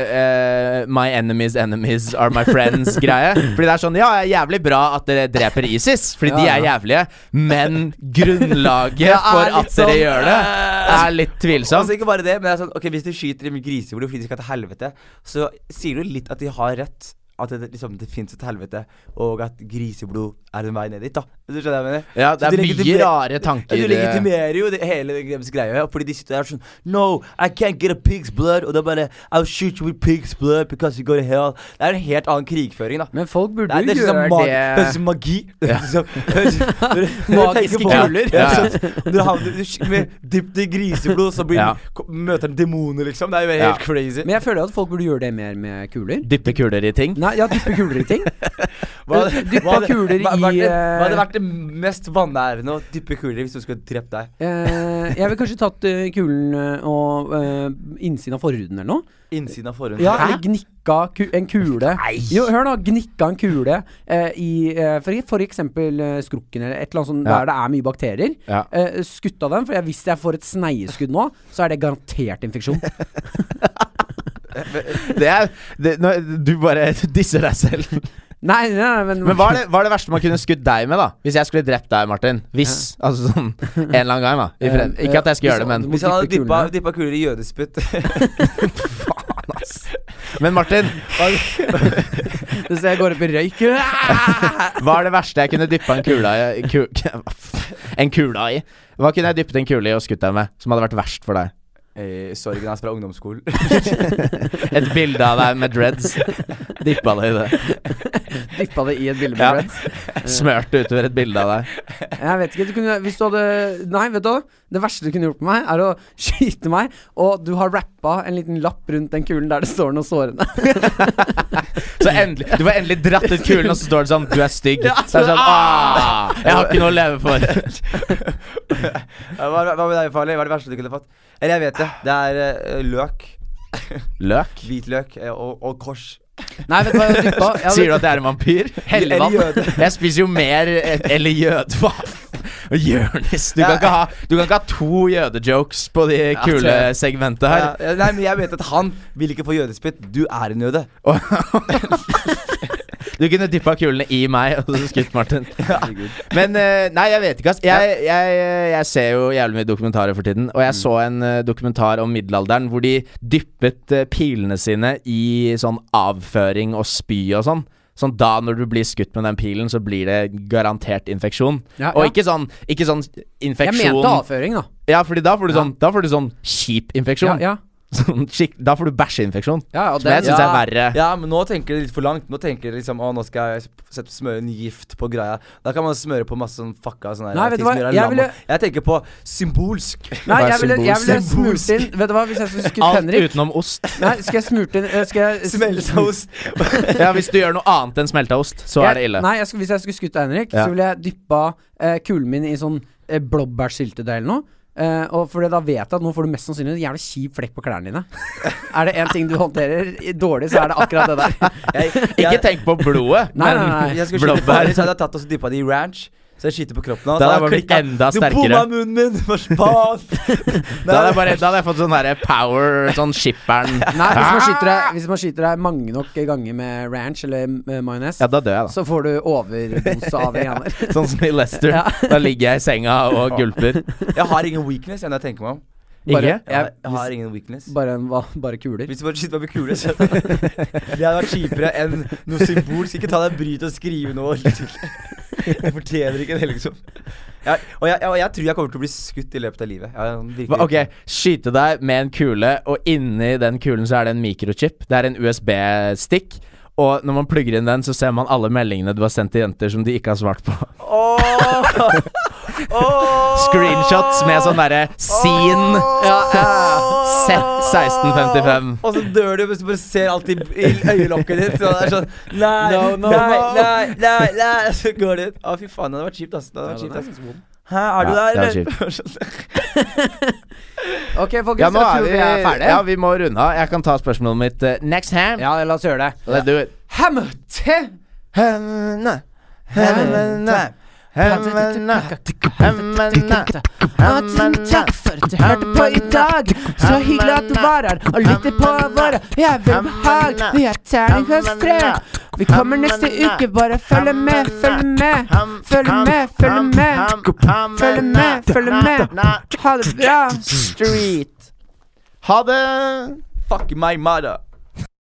S1: eh, My enemies enemies are my friends-greie. Fordi det er sånn Ja, det er jævlig bra at dere dreper ISIS, fordi de
S3: Ja,
S1: er
S3: ja.
S1: jævlige, men grunnlaget
S3: Ja, er
S1: for
S3: litt
S1: at dere
S3: sånn, Altså,
S1: gjør det, er litt
S2: Og
S1: tvilsomt.
S2: så Altså, ikke bare det, men det er sånn Ok, hvis de skyter i griseblod fordi de skal til helvete, så sier du litt at de har rett. At det, liksom, det fins et helvete, og at griseblod er en vei ned dit, da. Du skjønner hva jeg mener?
S1: Ja, det er
S2: Så
S3: altså,
S2: du
S1: mye
S2: legitimer-
S1: rare
S2: Ja,
S1: tanker. eh,
S2: du legitimerer jo det, hele deres greia, ja, fordi de sitter der sånn No, I can't get a pig's blood. Og det er bare I'll shoot you with pig's blood because you go to hell. Det er en helt annen krigføring, da.
S3: Men folk
S2: Det
S3: burde
S2: er, det er
S3: jo
S2: sånn
S3: gjøre
S2: som mag-
S3: det.
S2: det er som magi. Det er sånn- når du- når du
S3: Magiske
S2: tenker på det,
S1: kuler.
S2: Ja,
S1: Ja, ja.
S2: sånn. Du havner du sk- med dypt i griseblod, så blir,
S1: Ja.
S2: ko- møter han demoner, liksom. Det er jo helt
S1: Ja.
S2: crazy.
S3: Men jeg føler at folk burde gjøre det mer med kuler.
S1: Dyppe kuler i ting.
S3: Nei, ja, dyppe kuler i ting.
S2: Hva hadde-
S3: dyppa
S2: hva hadde-
S3: eh, kuler
S2: hva-
S3: i,
S2: hva hadde-
S3: eh,
S2: Hva hadde vært det mest vanærende å dyppe kuler i hvis du skulle drept deg?
S3: Eh, jeg ville kanskje tatt eh, kulen eh, og eh, innsiden av forhuden eller noe.
S2: Innsiden av forhuden.
S3: Ja,
S2: Hæ?
S3: eller gnikka ku en kule. Jo, hør nå. Gnikka en kule eh, i eh, for, for eksempel eh, skrukken eller et eller annet sånt
S1: Ja.
S3: der det er mye bakterier.
S1: Ja.
S3: Eh, skutt av den, for jeg, hvis jeg får et sneieskudd nå, så er det garantert infeksjon.
S1: Det er, det, nå, du bare disser deg selv.
S3: nei, nei, nei, men,
S1: Men hva er, det, hva er det verste man kunne skutt deg med, da? Hvis jeg skulle drept deg, Martin. Hvis. Altså sånn en eller annen gang, da. I frem. Ikke at jeg skal gjøre det, men
S3: Hvis-
S2: Hvis han hadde
S3: dyppe
S2: dyppa,
S3: kulene.
S2: dyppa kuler i jødespytt
S1: Men Martin,
S3: Hvis jeg går opp i røyk ah,
S1: hva er det verste jeg kunne dyppa en kula i ku, En kula i? Hva kunne jeg dyppet en kule i og skutt deg med, som hadde vært verst for deg?
S2: Eh, Sorgen hans fra ungdomsskolen.
S1: Et bilde av deg med dreads. Dyppa det i det.
S3: Dyppa det i et bilde med
S1: Ja.
S3: dreads.
S1: Smørte utover et bilde av deg.
S3: Jeg vet ikke, du kunne, hvis du hadde Nei, vet du hva? Det verste du kunne gjort på meg, er å skyte meg, og du har rappa en liten lapp rundt den kulen der det står noe sårende.
S1: Så endelig, Du får endelig dratt ut kulen, og så står det sånn Du er stygg.
S3: Ja,
S1: Så er det sånn ah, Jeg har ikke noe å leve for.
S2: Ja, Hva, hva, hva med deg, Farley? Hva er det verste du kunne fått? Eller jeg vet det. Det er eh, løk.
S1: Løk?
S2: Hvitløk eh, og, og kors.
S3: Nei, vet du hva jeg dyppa? Jeg
S1: Sier du at jeg er en vampyr?
S2: Eller
S1: Hellevann.
S2: jøde.
S1: Jeg spiser jo mer et- Eller jøde Hva? f- Jørnis, du kan, ikke ha, du kan ikke ha to jødejokes på de kule segmentet
S2: Ja,
S1: her.
S2: ja, nei, men jeg vet at han vil ikke få jødespytt. Du er en jøde.
S1: Og- Du Du kunne dyppa kulene i meg og så skutt Martin.
S2: Herregud.
S1: Men eh, nei, jeg vet ikke, ass. Jeg, jeg, eh, jeg ser jo jævlig mye dokumentarer for tiden. Og jeg
S3: Mm.
S1: så en eh, dokumentar om middelalderen hvor de dyppet eh, pilene sine i sånn avføring og spy og sånn. Sånn da når du blir skutt med den pilen, så blir det garantert infeksjon.
S3: Ja,
S1: Og
S3: ja.
S1: ikke sånn, ikke sånn
S3: Jeg
S1: infeksjon
S3: mente avføring, da.
S1: Ja, fordi da får du
S3: Ja.
S1: sånn, da får du sånn kjip
S3: Ja,
S1: infeksjon.
S3: ja.
S1: Sånn skikk- da får du bæsjeinfeksjon.
S3: ja, ja
S1: Som jeg syns er verre.
S2: Ja, men nå tenker de litt for langt. Nå tenker de liksom Å, nå skal jeg sette, smøre en gift på greia. Da kan man smøre på masse sånn fucka sånn der
S3: Nei,
S2: ting
S3: vet du hva?
S2: som gjør deg
S3: Jeg
S2: lam.
S3: ville-
S2: jeg tenker på symbolsk.
S3: Nei,
S1: Bare
S3: jeg ville, jeg ville
S2: symbolsk.
S3: smurt inn Vet du hva, hvis jeg skulle skutt
S1: Alt
S3: Henrik
S1: utenom ost.
S3: Nei, skal jeg smurt inn eh, Skal jeg
S2: Smelteost.
S1: ja, Hvis du gjør noe annet enn smelta ost, så er det ille.
S3: Jeg, nei, jeg skulle, hvis jeg skulle skutt Henrik,
S1: Ja.
S3: så ville jeg dyppa eh, kulen min i sånn eh, blåbærsyltetøy eller noe. Eh, og for da vet jeg at nå får du mest sannsynlig en jævlig kjip flekk på klærne dine. er det én ting du håndterer i- dårlig, så er det akkurat det der.
S2: Jeg,
S1: Ikke tenk på blodet,
S3: Nei, nei, nei.
S2: Jeg skulle skyte
S1: blåbær.
S2: faren din, så hadde jeg tatt og så dyppa det i ranch. Så jeg skyter på kroppen hans.
S1: Da
S2: så
S1: hadde jeg bare
S2: hadde jeg
S1: blitt enda
S2: klikket, Du bomma
S1: sterkere."
S2: munnen min! For faen!
S1: Da hadde jeg, bare, da hadde jeg fått sånn derre power, sånn skipperen
S3: Nei, hvis man skyter deg, hvis man skyter deg mange nok ganger med ranch eller eh, majones,
S1: Ja, da dør jeg, da.
S3: så får du overdose av det greiene der.
S1: Sånn som i Lester.
S3: Ja.
S1: Da ligger jeg i senga og gulper.
S2: Jeg har ingen weakness, enn jeg tenker meg om.
S1: Ikke?
S3: Bare-
S2: Jeg, har-
S3: Jeg-
S2: jeg har ingen weakness.
S3: Bare, en, va- bare kuler.
S2: Hvis du bare skyter meg med kule, så Det hadde vært kjipere enn noe symbolsk. Ikke ta deg bryet til å skrive noe. Jeg fortjener ikke det, liksom. Jeg, og, jeg, og jeg tror jeg kommer til å bli skutt i løpet av livet. Jeg, virkelig.
S1: Hva- Ok, skyte deg med en kule, og inni den kulen så er det en mikrochip. Det er en USB-stikk. Og når man plugger inn den, så ser man alle meldingene du har sendt til jenter som de ikke har svart på.
S2: Åh! Åh!
S1: Screenshots med sånn derre scene. Sett 1655.
S2: Og så dør du hvis du bare ser alt i, i øyelokket ditt. Så det er sånn Nei,
S3: No, no,
S2: nei,
S3: no.
S2: nei, nei, nei. Så går det ut. Å, fy faen, det hadde vært kjipt, ass. Det hadde vært kjipt, ass. sånn- Hæ, er du
S1: Ja,
S2: der,
S1: det
S2: eller?
S3: Ok, folkens,
S1: Ja,
S3: jeg
S1: nå er
S3: tror
S1: vi,
S3: vi er ferdige.
S1: ja, vi må runde av. Jeg kan ta spørsmålet mitt eh, next ham.
S3: Ja, la oss gjøre det.
S1: Let's do it.
S3: Hamte!
S1: Hemne,
S3: hemne, Og tusen takk for at du hørte på i dag. Så hyggelig at du var her og lytter på våre. Jeg vil behag, vi er terningkast tre. Vi kommer neste uke, bare følg med, følg med. Følg med, følg med. Følg med, følg med. Ha det bra.
S1: Street. Ha det!
S2: Fuck my mother.